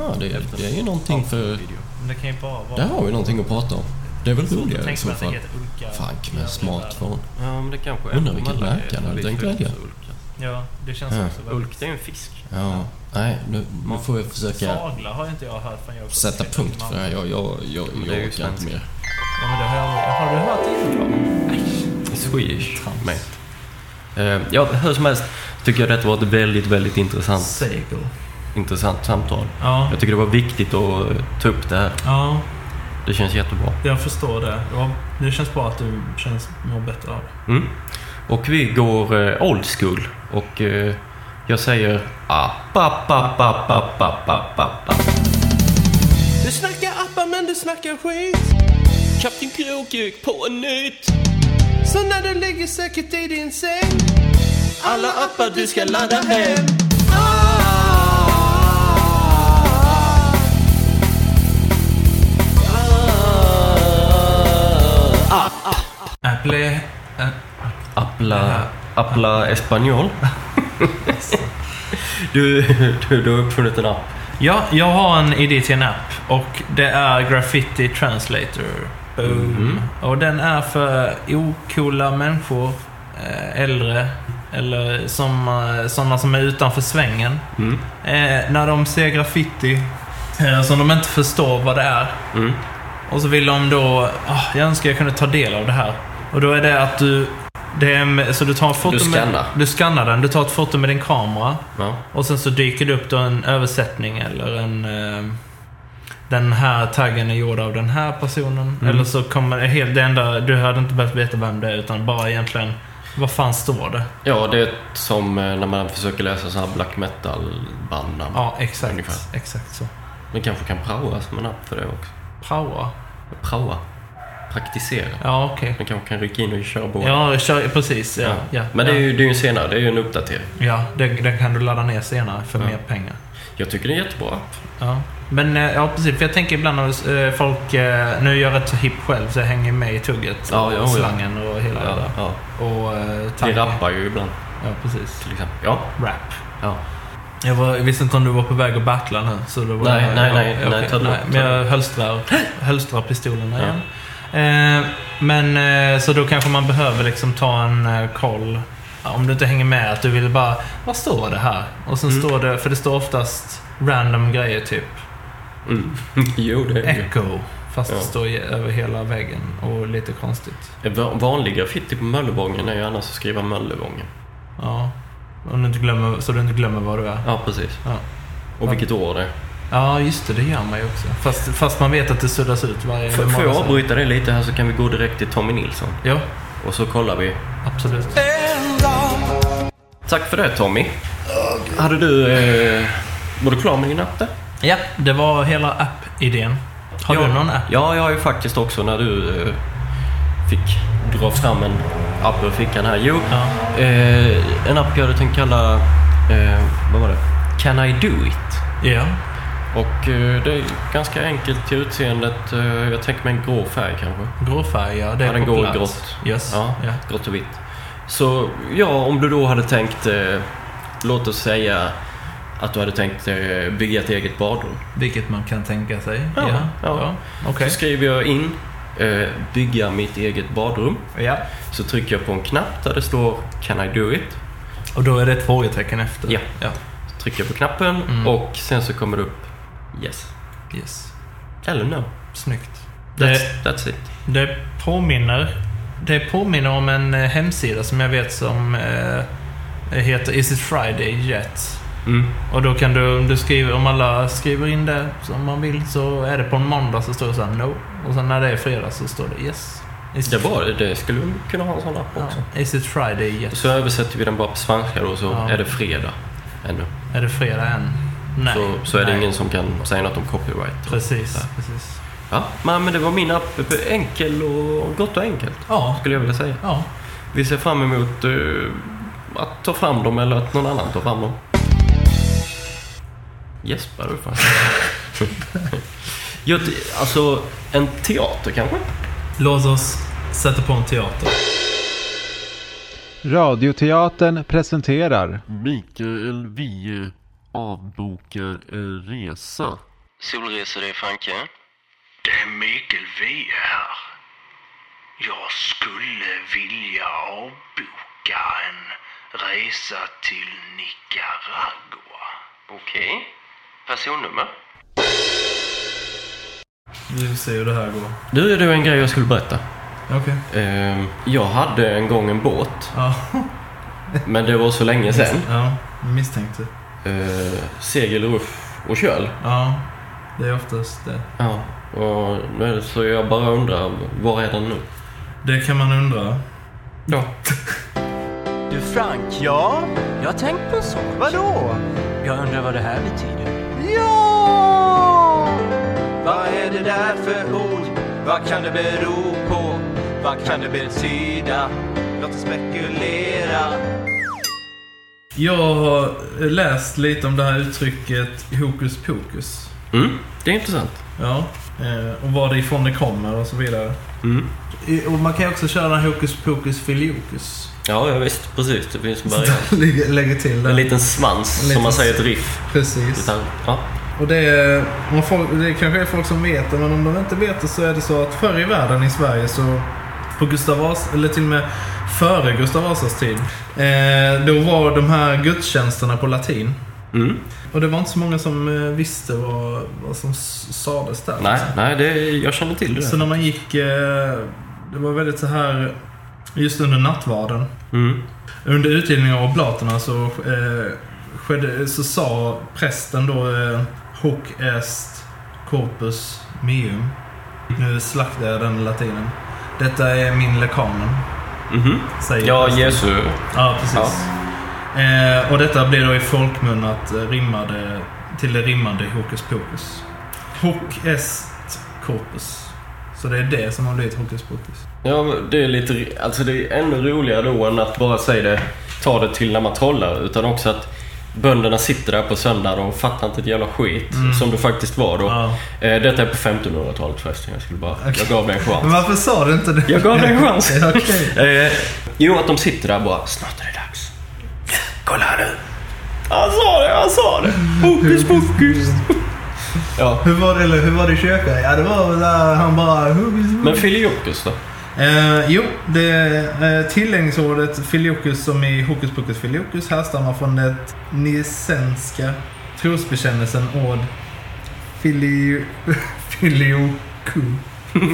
[SPEAKER 6] Ja, det, det är ju någonting för...
[SPEAKER 1] Video.
[SPEAKER 2] Men det kan ju bara vara...
[SPEAKER 6] Där har vi någonting att prata om. Det är väl
[SPEAKER 2] svårt att
[SPEAKER 6] roligare i
[SPEAKER 2] tänka
[SPEAKER 6] så
[SPEAKER 2] mig att det
[SPEAKER 6] fall.
[SPEAKER 2] heter ulka.
[SPEAKER 6] Frank
[SPEAKER 2] i övriga
[SPEAKER 6] med smartphone.
[SPEAKER 1] Ja, men det kanske är.
[SPEAKER 6] Undrar vilken
[SPEAKER 1] Alla är
[SPEAKER 6] läkare hade
[SPEAKER 1] väldigt
[SPEAKER 6] tänkt välja.
[SPEAKER 1] förtjusta i ulka.
[SPEAKER 2] världen. Ja, det känns
[SPEAKER 6] Ja.
[SPEAKER 2] också väldigt...
[SPEAKER 1] Ulk, det är en fisk.
[SPEAKER 6] Ja, nej, nu, nu får jag försöka
[SPEAKER 2] Fagla har inte jag hört från jag
[SPEAKER 6] sätta punkt för det här. Jag, jag, jag,
[SPEAKER 1] Men det är
[SPEAKER 6] jag
[SPEAKER 1] ju
[SPEAKER 6] orkar inte mer.
[SPEAKER 2] Ja, men det har jag aldrig... Har du hört det innan?
[SPEAKER 1] Swedish, mate. Eh, Ja, hur som helst tycker jag detta var ett väldigt, väldigt intressant,
[SPEAKER 2] Segel.
[SPEAKER 1] intressant samtal.
[SPEAKER 2] Ja.
[SPEAKER 1] Jag tycker det var viktigt att eh, ta upp det här.
[SPEAKER 2] Ja,
[SPEAKER 1] Det känns jättebra.
[SPEAKER 2] jag förstår det. Ja, det känns bra att du känns, mår bättre av det.
[SPEAKER 1] Mm. Och vi går eh, old school och eh, Jag säger ah. Ba, ba, ba, ba, ba, ba, ba, ba.
[SPEAKER 7] Du snackar appar men du snackar skit.
[SPEAKER 1] Kapten Krokuk på nytt!
[SPEAKER 7] Så när du ligger säkert i din säng.
[SPEAKER 1] Alla appar du ska ladda hem.
[SPEAKER 2] Apple... eh,
[SPEAKER 1] Apla... Apla Espanol. Du, du, du har uppfunnit en app.
[SPEAKER 2] Ja, jag har en idé till en app och det är Graffiti Translator. Boom.
[SPEAKER 1] Mm,
[SPEAKER 2] Och den är för okola människor, eh, äldre eller som, eh, sådana som är utanför svängen.
[SPEAKER 1] mm,
[SPEAKER 2] Eh, när de ser graffiti eh, som de inte förstår vad det är.
[SPEAKER 1] mm.
[SPEAKER 2] Och så vill de då, ah, jag önskar jag kunde ta del av det här. Och då är det att du, det är, med- så du tar ett foto
[SPEAKER 1] Du scannar.
[SPEAKER 2] med, du scannar den, du tar ett foto med din kamera.
[SPEAKER 1] Ja.
[SPEAKER 2] Och sen så dyker det upp då en översättning eller en... Eh, den här taggen är gjord av den här personen.
[SPEAKER 1] Mm.
[SPEAKER 2] Eller så kommer det helt... Det enda, du hade inte behövt veta vem det är utan bara egentligen... Vad fan står det?
[SPEAKER 1] ja, det är som eh, när man försöker läsa så här black metal-band.
[SPEAKER 2] Ja, exakt.
[SPEAKER 1] Ungefär.
[SPEAKER 2] Exakt så.
[SPEAKER 1] Man kanske kan praoa som en app för det också.
[SPEAKER 2] Power.
[SPEAKER 1] Praoa. Praktisera.
[SPEAKER 2] Ja, okej.
[SPEAKER 1] Man kanske kan rycka in och köra båda.
[SPEAKER 2] Ja, kör, precis. Ja, ja.
[SPEAKER 1] Men det är
[SPEAKER 2] ja.
[SPEAKER 1] ju, det är ju senare, det är ju en uppdatering.
[SPEAKER 2] Ja, den, den kan du ladda ner senare för mer pengar.
[SPEAKER 1] Jag tycker det är en jättebra app.
[SPEAKER 2] Ja. Men eh, ja, precis. För jag tänker ibland när eh, folk... eh, Nu är jag rätt så hipp själv så jag hänger med i tugget.
[SPEAKER 1] Ja,
[SPEAKER 2] och
[SPEAKER 1] ja, ja.
[SPEAKER 2] slangen och hela det
[SPEAKER 1] Ja,
[SPEAKER 2] där.
[SPEAKER 1] ja.
[SPEAKER 2] Och eh,
[SPEAKER 1] Vi
[SPEAKER 2] taggen.
[SPEAKER 1] rappar ju ibland
[SPEAKER 2] Ja, precis.
[SPEAKER 1] till exempel. Ja.
[SPEAKER 2] Rap.
[SPEAKER 1] ja.
[SPEAKER 2] Jag, var, jag visste inte om du var på väg att battla nu. Så det var,
[SPEAKER 1] Nej,
[SPEAKER 2] ja,
[SPEAKER 1] nej, nej,
[SPEAKER 2] okej,
[SPEAKER 1] nej, ta det lugnt,
[SPEAKER 2] Men
[SPEAKER 1] ta det [gasps]
[SPEAKER 2] jag hölstrar, hölstrar pistolerna igen. Eh, men eh, så då kanske man behöver liksom ta en eh, koll. Ja, Om du inte hänger med, att du vill bara, vad står det här? Och sen står det, för det står oftast random grejer typ.
[SPEAKER 1] Mm. [laughs] jo, det är ju.
[SPEAKER 2] Echo. Fast
[SPEAKER 1] Ja.
[SPEAKER 2] det står i, över hela väggen och lite konstigt.
[SPEAKER 1] Va- Vanlig graffiti på typ Möllevången är ju annars att skriva Möllevången.
[SPEAKER 2] Ja. Om du inte glömmer, så du inte glömmer vad du är.
[SPEAKER 1] Ja, precis.
[SPEAKER 2] Ja.
[SPEAKER 1] Och vilket år det är.
[SPEAKER 2] Ja, just det. Det gör man ju också. Fast, fast man vet att det suddas ut varje...
[SPEAKER 1] F- Får jag
[SPEAKER 2] månad.
[SPEAKER 1] avbryta det lite här så kan vi gå direkt till Tommy Nilsson.
[SPEAKER 2] Ja,
[SPEAKER 1] Och så kollar vi.
[SPEAKER 2] absolut.
[SPEAKER 1] Tack för det Tommy. Hade du... Eh, var du klar med din app där?
[SPEAKER 2] Ja, det var hela app-idén. Har
[SPEAKER 1] ja.
[SPEAKER 2] du någon app?
[SPEAKER 1] Ja, jag har ju faktiskt också när du eh, fick dra fram en app ur fickan här. Jo,
[SPEAKER 2] Ja.
[SPEAKER 1] eh, en app jag hade tänkt kalla... Eh, vad var det? Can I do it?
[SPEAKER 2] Ja.
[SPEAKER 1] Och eh, det är ganska enkelt till utseendet. Eh, jag tänker mig en grå färg kanske.
[SPEAKER 2] Grå färg, ja. Det är
[SPEAKER 1] Ja, den går i
[SPEAKER 2] populärt.
[SPEAKER 1] grått.
[SPEAKER 2] Yes.
[SPEAKER 1] Ja,
[SPEAKER 2] Ja.
[SPEAKER 1] grått och vitt. Så ja, om du då hade tänkt, eh, låt oss säga att du hade tänkt eh, bygga ett eget badrum.
[SPEAKER 2] Vilket man kan tänka sig.
[SPEAKER 1] Ja,
[SPEAKER 2] Ja.
[SPEAKER 1] ja.
[SPEAKER 2] ja. Okej.
[SPEAKER 1] Så skriver jag in, eh, bygga mitt eget badrum.
[SPEAKER 2] Ja.
[SPEAKER 1] Så trycker jag på en knapp där det står Can I do it?
[SPEAKER 2] Och då är det ett frågetecken efter.
[SPEAKER 1] Ja.
[SPEAKER 2] ja.
[SPEAKER 1] Så trycker jag på knappen
[SPEAKER 2] Mm.
[SPEAKER 1] och sen så kommer det upp Yes.
[SPEAKER 2] Yes.
[SPEAKER 1] Eller No.
[SPEAKER 2] Snyggt.
[SPEAKER 1] That's,
[SPEAKER 2] Det,
[SPEAKER 1] that's it.
[SPEAKER 2] det påminner... Det påminner om en eh, hemsida som jag vet som eh, heter Is it Friday yet?
[SPEAKER 1] Mm.
[SPEAKER 2] Och då kan du, om du skriver, om alla skriver in det som man vill så är det på en måndag så står det så här no. Och sen när det är fredag så står det yes. Is
[SPEAKER 1] Det var det. Det skulle vi kunna ha en sån app
[SPEAKER 2] Ja.
[SPEAKER 1] också.
[SPEAKER 2] Is it Friday yet?
[SPEAKER 1] Så översätter vi den bara på svenska då så
[SPEAKER 2] Ja.
[SPEAKER 1] är det fredag ännu.
[SPEAKER 2] Är det fredag än? Nej.
[SPEAKER 1] så, så är det
[SPEAKER 2] Nej.
[SPEAKER 1] ingen som kan säga något om copyright.
[SPEAKER 2] Precis. precis.
[SPEAKER 1] Ja, men men det var min app. Enkel och gott och enkelt
[SPEAKER 2] Ja.
[SPEAKER 1] skulle jag vilja säga.
[SPEAKER 2] Ja.
[SPEAKER 1] Vi ser fram emot eh, att ta fram dem eller att någon annan tar fram dem. Gäspar du fan? [laughs] jag, ty- alltså, en teater kanske?
[SPEAKER 2] Låt oss sätta på en teater.
[SPEAKER 8] Radioteatern presenterar
[SPEAKER 9] Mikael Wiehe avbokar en resa.
[SPEAKER 1] Solresor i Frankrike.
[SPEAKER 10] Det är Mikael Wiehe här. Jag skulle vilja avboka en resa till Nicaragua.
[SPEAKER 1] Okej. Personnummer?
[SPEAKER 2] Vi får se hur det här går.
[SPEAKER 1] Du, det var en grej jag skulle berätta.
[SPEAKER 2] Okej.
[SPEAKER 1] Eh, jag hade en gång en båt,
[SPEAKER 2] Ja.
[SPEAKER 1] men det var så länge sedan.
[SPEAKER 2] ja. Misstänkte.
[SPEAKER 1] Eh, segel, ruff och köl.
[SPEAKER 2] Ja. Det är oftast det.
[SPEAKER 1] Ja. Och nu är det så jag bara undrar, var är den nu?
[SPEAKER 2] Det kan man undra.
[SPEAKER 1] Ja.
[SPEAKER 11] Du Frank? Ja? Jag har tänkt på en sak. Vadå? Jag undrar vad det här betyder.
[SPEAKER 3] Ja! Vad är det där för ord? Vad kan det bero på? Vad kan det betyda? Låt oss spekulera.
[SPEAKER 2] Jag har läst lite om det här uttrycket hokus pokus.
[SPEAKER 1] Mm, det är intressant.
[SPEAKER 2] Ja, eh, och var det ifrån det kommer och så vidare.
[SPEAKER 1] Mm.
[SPEAKER 2] I- Och man kan ju också köra den här hokus pokus filiokus.
[SPEAKER 1] Ja, ja, visst. Precis. Det finns [laughs] en variant.
[SPEAKER 2] [laughs] Lägger, lägger till den.
[SPEAKER 1] En liten svans,
[SPEAKER 2] En liten
[SPEAKER 1] som man säger,
[SPEAKER 2] s-
[SPEAKER 1] ett riff.
[SPEAKER 2] Precis.
[SPEAKER 1] Utan, ja.
[SPEAKER 2] Och det, är, om folk, det kanske är folk som vet det, men om de inte vet det så är det så att förr i världen i Sverige så på Gustav Vasa, eller till och med före Gustav Vasas tid, eh, då var de här gudstjänsterna på latin.
[SPEAKER 1] Mm.
[SPEAKER 2] Och det var inte så många som eh, visste vad, vad som s- sades där.
[SPEAKER 1] Nej, nej det, jag känner till det.
[SPEAKER 2] Så när man gick, eh, det var väldigt så här, just under nattvarden.
[SPEAKER 1] Mm.
[SPEAKER 2] Under utdelningen av oblaterna så, eh, skedde, så sa prästen då eh, Hoc est corpus meum. Nu slaktar jag den latinen. Detta är min lekamen.
[SPEAKER 1] Mhm.
[SPEAKER 2] Säger
[SPEAKER 1] Ja,
[SPEAKER 2] prästen.
[SPEAKER 1] Jesu.
[SPEAKER 2] Ja, precis. Eh, och detta blir då i folkmun att eh, rimmade, till det rimmande hokus pokus. Hoc est corpus. Så det är det som har blivit hokus pokus.
[SPEAKER 1] Ja, men det är lite... Alltså det är ännu roligare då än att bara säga det, ta det till när man trollar. Utan också att bönderna sitter där på söndagar och fattar inte ett jävla skit.
[SPEAKER 2] Mm.
[SPEAKER 1] Som det faktiskt var då.
[SPEAKER 2] Ja.
[SPEAKER 1] Eh, detta är på 1500-talet förresten. Jag skulle bara...
[SPEAKER 2] Okej.
[SPEAKER 1] Jag gav det en chans.
[SPEAKER 2] Men varför sa du inte det?
[SPEAKER 1] Jag gav det
[SPEAKER 2] [laughs]
[SPEAKER 1] en chans.
[SPEAKER 2] Okej.
[SPEAKER 1] eh, jo, att de sitter där bara. Snart är det dags. Kolla här nu. Han sa det, han sa det. Hokus pokus. ja.
[SPEAKER 2] Hur var det, eller hur var det i köket? Ja, det var väl där han bara...
[SPEAKER 1] Men Filiokus då?
[SPEAKER 2] Eh, jo, det eh, tillägningsordet filiokus som i Hokus pokus filiokus härstammar från det nicenska trosbekännelsen ord filio... [laughs] filioku.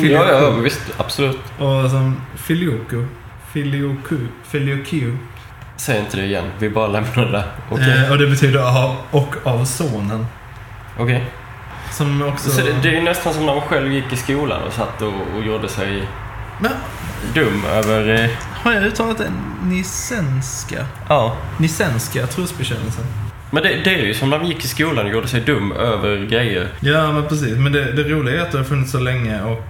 [SPEAKER 1] ja, ja, visst. Absolut.
[SPEAKER 2] Och som filioku. Filioku. Filioku.
[SPEAKER 1] Säg inte det igen. Vi bara lämnar det där. Okej.
[SPEAKER 2] Eh, och det betyder av och av sonen.
[SPEAKER 1] Okej.
[SPEAKER 2] Som också...
[SPEAKER 1] Så det, det är nästan som när man själv gick i skolan och satt och, och gjorde sig
[SPEAKER 2] Men
[SPEAKER 1] dum över... Eh,
[SPEAKER 2] har jag uttalat det? Nicenska?
[SPEAKER 1] ja.
[SPEAKER 2] Nicenska trosbekännelsen.
[SPEAKER 1] Men det, det är ju som när man gick i skolan och gjorde sig dum över grejer.
[SPEAKER 2] Ja, men precis. Men det, det roliga är att det har funnits så länge och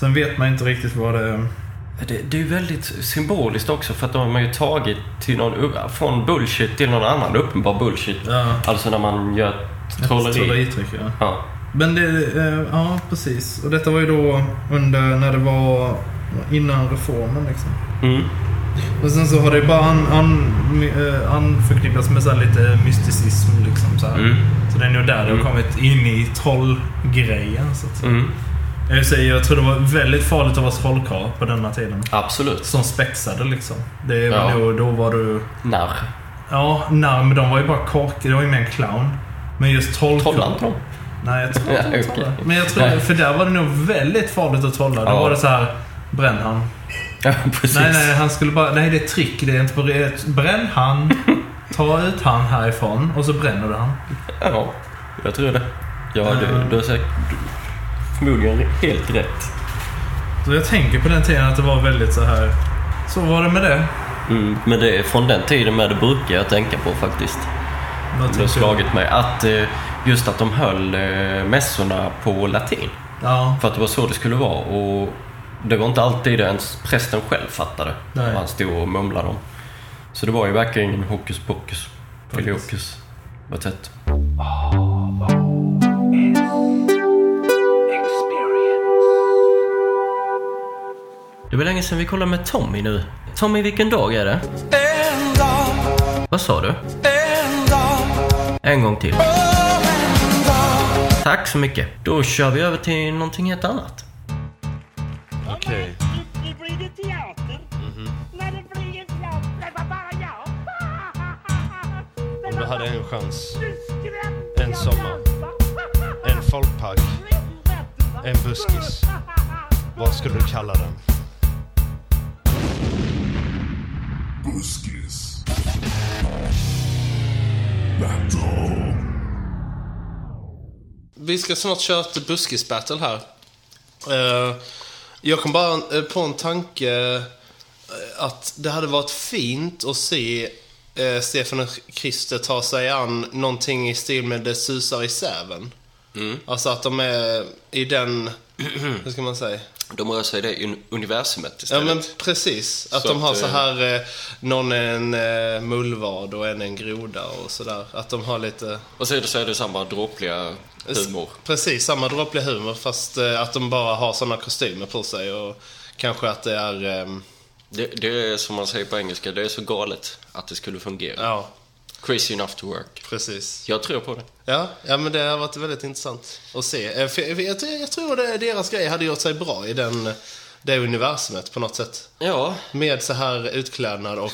[SPEAKER 2] sen vet man inte riktigt vad det...
[SPEAKER 1] Det, det är ju väldigt symboliskt också för att då har man ju tagit till någon, från bullshit till någon annan uppenbar bullshit.
[SPEAKER 2] Ja.
[SPEAKER 1] Alltså när man gör trolleri.
[SPEAKER 2] Trolleritrick, ja.
[SPEAKER 1] Ja.
[SPEAKER 2] Men det... eh, Ja, precis. Och detta var ju då under när det var innan reformen liksom.
[SPEAKER 1] Mm.
[SPEAKER 2] Och sen så har det bara an, an, eh, anförknippats med så här lite mysticism liksom. Så, här.
[SPEAKER 1] Mm.
[SPEAKER 2] så det är nog där det
[SPEAKER 1] Mm.
[SPEAKER 2] har kommit in i trollgrejen så att säga.
[SPEAKER 1] Mm.
[SPEAKER 2] Jag, säger, jag tror det var väldigt farligt att vara trollkarl på denna tiden.
[SPEAKER 1] Absolut.
[SPEAKER 2] Som spexade liksom. Det var
[SPEAKER 1] Ja.
[SPEAKER 2] nog, då var du...
[SPEAKER 1] Narr.
[SPEAKER 2] Ja, nej, men de var ju bara korkade. Det var ju mer en clown. Men just trollkarl...
[SPEAKER 1] Trollade inte de?
[SPEAKER 2] Nej, jag tror
[SPEAKER 1] Ja,
[SPEAKER 2] inte de
[SPEAKER 1] okej.
[SPEAKER 2] trollade. Men jag tror,
[SPEAKER 1] Nej.
[SPEAKER 2] för där var det nog väldigt farligt att trolla. Då
[SPEAKER 1] Ja.
[SPEAKER 2] var det så här, bränn han.
[SPEAKER 1] [laughs] Ja, precis.
[SPEAKER 2] Nej, nej, han skulle bara... Nej, det är ett trick. Det är inte på det. Bränn
[SPEAKER 1] [laughs]
[SPEAKER 2] han. Ta ut han härifrån och så bränner du han.
[SPEAKER 1] Ja, jag tror det. Ja, du, du har säkert du, förmodligen helt rätt.
[SPEAKER 2] Så jag tänker på den tiden att det var väldigt så här... Så var det med det.
[SPEAKER 1] Mm, men det är från den tiden med det brukar jag tänka på faktiskt.
[SPEAKER 2] Vad
[SPEAKER 1] Det har
[SPEAKER 2] tänker du?
[SPEAKER 1] slagit mig att eh, just att de höll eh, mässorna på latin.
[SPEAKER 2] Ja.
[SPEAKER 1] För att det var så det skulle vara och det var inte alltid ens prästen själv fattade
[SPEAKER 2] Nej.
[SPEAKER 1] vad han stod och mumlade om. Så det var ju verkligen ingen hokus pokus. Filiokus. Vad tätt. Det var länge sedan vi kollade med Tommy nu. Tommy, vilken dag är det?
[SPEAKER 7] En dag,
[SPEAKER 1] Vad sa du?
[SPEAKER 7] en dag,
[SPEAKER 1] En gång till.
[SPEAKER 7] en dag.
[SPEAKER 1] Tack så mycket. Då kör vi över till någonting helt annat.
[SPEAKER 9] Okej.
[SPEAKER 12] Nu blir det teater.
[SPEAKER 13] Mhm.
[SPEAKER 12] När det blir en teater, det var bara jag.
[SPEAKER 13] Om du hade en chans.
[SPEAKER 12] Skrämd
[SPEAKER 13] En sommar. En folkpark. En buskis.
[SPEAKER 12] [laughs]
[SPEAKER 13] Vad skulle du kalla den?
[SPEAKER 14] Buskis. Battle.
[SPEAKER 7] Vi ska snart köra ett buskisbattle här. Eh, jag kom bara eh, på en tanke. eh,
[SPEAKER 2] att det hade varit fint att se eh, Stefan och Christer ta sig an någonting i stil med Det susar i säven.
[SPEAKER 1] Mm.
[SPEAKER 2] Alltså att de är i den, [clears throat] hur ska man säga?
[SPEAKER 1] De rör sig i det un- universumet
[SPEAKER 2] Ja
[SPEAKER 1] istället.
[SPEAKER 2] men precis. Att
[SPEAKER 1] Så
[SPEAKER 2] de har
[SPEAKER 1] att,
[SPEAKER 2] så
[SPEAKER 1] eh,
[SPEAKER 2] här, eh, någon är en eh, mullvad och en är en groda och sådär. Att de har lite...
[SPEAKER 1] Och så är det, så är det samma dråpliga humor.
[SPEAKER 2] Precis, samma dråpliga humor fast eh, att de bara har sådana kostymer på sig och kanske att det är... ehm,
[SPEAKER 1] Det, det är som man säger på engelska, det är så galet att det skulle fungera.
[SPEAKER 2] Ja.
[SPEAKER 1] Crazy enough to work.
[SPEAKER 2] Precis.
[SPEAKER 1] Jag tror på det.
[SPEAKER 2] Ja, ja, men det har varit väldigt intressant att se. Eh, för- för Jag, tror- jag tror det, deras grej hade gjort sig bra i den, det universumet på något sätt.
[SPEAKER 1] Ja.
[SPEAKER 2] Med så här utklädnad och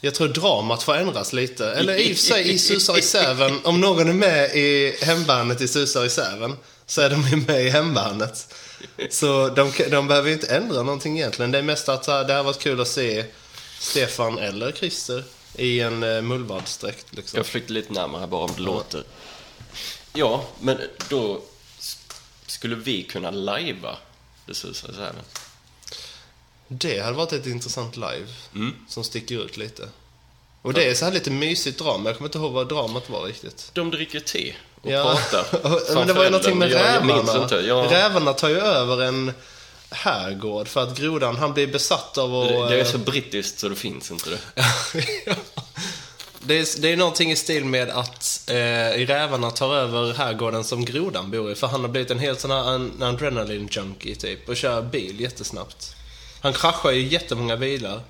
[SPEAKER 2] jag tror dramat får ändras lite. Eller i och för sig i Susar i Säven, om någon är med i hemvärnet i Susar i Säven, så är de ju med i hemvärnet. Så de, kan- de behöver ju inte ändra någonting egentligen. Det är mest att så här, det har varit kul att se Stefan eller Christer i en eh, mullvadsdräkt. Liksom.
[SPEAKER 1] Jag flyttar lite närmare bara om det låter. Ja, men då s- skulle vi kunna lajva det susar så här.
[SPEAKER 2] Det hade varit ett intressant live.
[SPEAKER 1] Mm.
[SPEAKER 2] Som sticker ut lite. Och det är så här lite mysigt drama. Jag kommer inte ihåg vad dramat var riktigt.
[SPEAKER 1] De dricker te och
[SPEAKER 2] Ja.
[SPEAKER 1] pratar.
[SPEAKER 2] [laughs] Men det
[SPEAKER 1] framför
[SPEAKER 2] var ju någonting med
[SPEAKER 1] elden. Jag- jag
[SPEAKER 2] rävarna.
[SPEAKER 1] minns inte. Jag-
[SPEAKER 2] Rävarna tar ju över en herrgård för att grodan, han blir besatt av att...
[SPEAKER 1] Det, det är
[SPEAKER 2] eh,
[SPEAKER 1] så brittiskt så det finns inte det.
[SPEAKER 2] [laughs] Det är, det är någonting i stil med att eh, rävarna tar över herrgården som grodan bor i. För han har blivit en helt sån här en, adrenaline junkie typ. Och kör bil jättesnabbt. Han kraschar ju jättemånga bilar.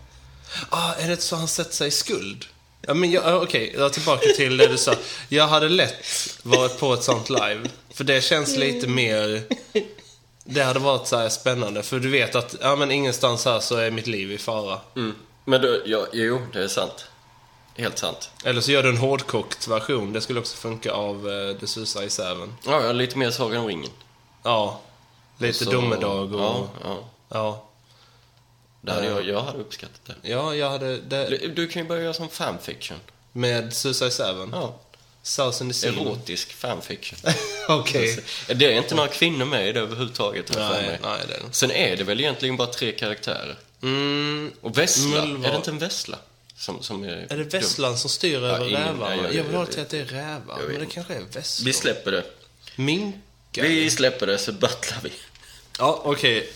[SPEAKER 2] Ah, är det så han sätter sig i skuld? Ja, men jag, ah, okej, jag är tillbaka till det du sa. Jag hade lätt varit på ett sånt live. För det känns lite mer... Det hade varit så här spännande. För du vet att, ja men ingenstans här så är mitt liv i fara.
[SPEAKER 1] Mm. Men du, ja, jo, det är sant. Helt sant.
[SPEAKER 2] Eller så gör du en hårdkokt version. Det skulle också funka av uh, The Susar i Säven.
[SPEAKER 1] Ja, ja, lite mer Sagan om ringen.
[SPEAKER 2] Ja. Lite
[SPEAKER 1] Så-
[SPEAKER 2] domedag och...
[SPEAKER 1] Ja, ja.
[SPEAKER 2] ja.
[SPEAKER 1] Det hade jag, jag hade uppskattat det.
[SPEAKER 2] Ja, jag hade... Det...
[SPEAKER 1] Du kan ju börja göra som fanfiction.
[SPEAKER 2] Med Susar i Säven?
[SPEAKER 1] Ja.
[SPEAKER 2] South in the Sea?
[SPEAKER 1] Erotisk fanfiction.
[SPEAKER 2] Okej.
[SPEAKER 1] Det är inte några kvinnor med i det överhuvudtaget. har jag för
[SPEAKER 2] Nej,
[SPEAKER 1] mig.
[SPEAKER 2] nej, det är det inte.
[SPEAKER 1] Sen är det väl egentligen bara tre karaktärer.
[SPEAKER 2] Mm.
[SPEAKER 1] Och vessla.
[SPEAKER 2] Mullvad.
[SPEAKER 1] Är det inte en vessla? Som, som är,
[SPEAKER 2] Är det vesslan som styr
[SPEAKER 1] Ja,
[SPEAKER 2] över
[SPEAKER 1] ingen-
[SPEAKER 2] rävarna?
[SPEAKER 1] ja,
[SPEAKER 2] Jag,
[SPEAKER 1] jag-
[SPEAKER 2] vill ha
[SPEAKER 1] jag-
[SPEAKER 2] det till att det är rävar.
[SPEAKER 1] jag vet
[SPEAKER 2] Men det
[SPEAKER 1] inte.
[SPEAKER 2] kanske är vesslor.
[SPEAKER 1] Vi släpper det.
[SPEAKER 2] Minkar?
[SPEAKER 1] Vi släpper det så battlar vi.
[SPEAKER 2] Ja, okej.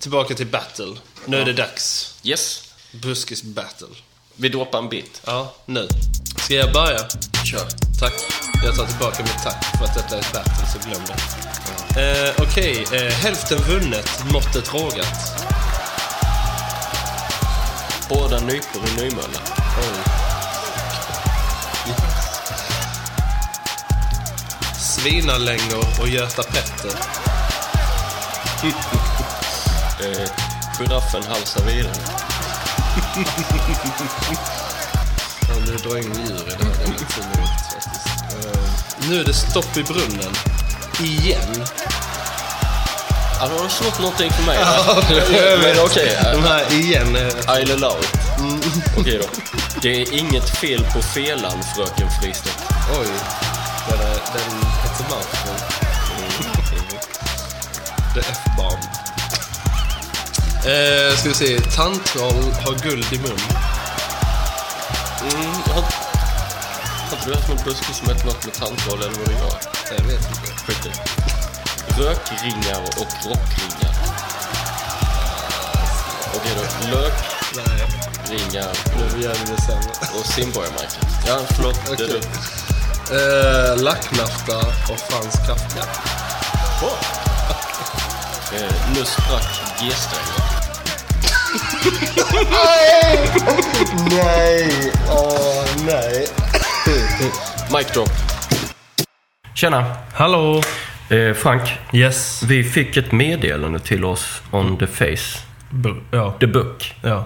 [SPEAKER 2] Tillbaka till battle. Nu är det dags.
[SPEAKER 1] Yes.
[SPEAKER 2] Buskis battle.
[SPEAKER 1] Vi droppar en bit.
[SPEAKER 2] Ja, nu. Ska jag börja?
[SPEAKER 1] Kör.
[SPEAKER 2] Tack. Jag tar tillbaka mitt tack för att detta är ett battle, så glöm det. Eh, Okej, eh, hälften vunnet, måttet rågat.
[SPEAKER 1] Båda nypor i Nymölla.
[SPEAKER 2] Svinalängor och Göta Petter. [laughs]
[SPEAKER 1] Eh, giraffen halsar vidare.
[SPEAKER 2] Ja, nu drar jag in djur i det här. Det är lite fult, faktiskt. Eh, nu är det stopp i brunnen. Igen.
[SPEAKER 1] Ja, de har slått någonting för mig.
[SPEAKER 2] Ja, jag vet.
[SPEAKER 1] Men okej.
[SPEAKER 2] De här igen. eh.
[SPEAKER 1] I'll allow it. eh. Mm. Okej då. Det är inget fel på felan, fröken Fristedt.
[SPEAKER 2] Oj. Den, är- den heter Mouthful. The F-bomb. Eh, ska vi se. Tandtroll har guld i mun.
[SPEAKER 1] Mm, har, har inte du haft någon buske som hette något med tandtroll eller vad det var?
[SPEAKER 2] Jag vet inte.
[SPEAKER 1] Skit i det. Rökringar och rockringar. Okej då. Lökringar
[SPEAKER 2] Nu gör vi det sämre.
[SPEAKER 1] och simborgarmärken. Ja, förlåt. Det är
[SPEAKER 2] Okej.
[SPEAKER 1] du.
[SPEAKER 2] Eh, Lacknafta och Frans Kafka.
[SPEAKER 1] Eh, nu sprack G-strängen.
[SPEAKER 2] Nej! nej! Åh, nej.
[SPEAKER 1] Mic drop. Tjena.
[SPEAKER 15] Hallå!
[SPEAKER 1] Eh, Frank.
[SPEAKER 15] Yes.
[SPEAKER 1] Vi fick ett meddelande till oss on the face.
[SPEAKER 15] Bu- ja.
[SPEAKER 1] The book.
[SPEAKER 15] Ja.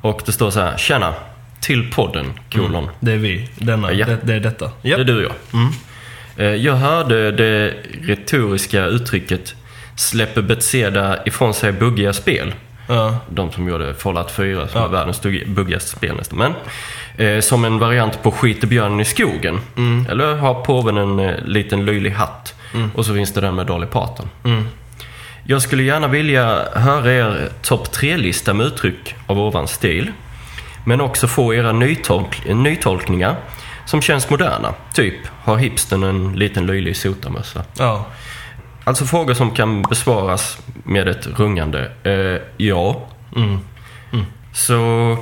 [SPEAKER 1] Och det står så här. Tjena. Till podden, kolon.
[SPEAKER 15] Det är vi. Denna.
[SPEAKER 1] Ja.
[SPEAKER 15] Det, det är detta.
[SPEAKER 1] Det är du och jag. Eh, Jag hörde det retoriska uttrycket släpper Betseda ifrån sig buggiga spel.
[SPEAKER 15] Ja.
[SPEAKER 1] De som gjorde Fallout 4 som är världens dugg- buggigaste spel nästan. Men, eh, som en variant på skiter björnen i skogen.
[SPEAKER 15] Mm.
[SPEAKER 1] Eller har påven en eh, liten löjlig hatt. Och så finns det den med Dolly Parton.
[SPEAKER 15] Mm.
[SPEAKER 1] Jag skulle gärna vilja höra er topp tre-lista med uttryck av ovan stil. Men också få era nytolk- nytolkningar som känns moderna. Typ, har hipstern en liten löjlig sotarmössa?
[SPEAKER 2] Ja.
[SPEAKER 1] Alltså frågor som kan besvaras med ett rungande eh, ja. Mm. Så,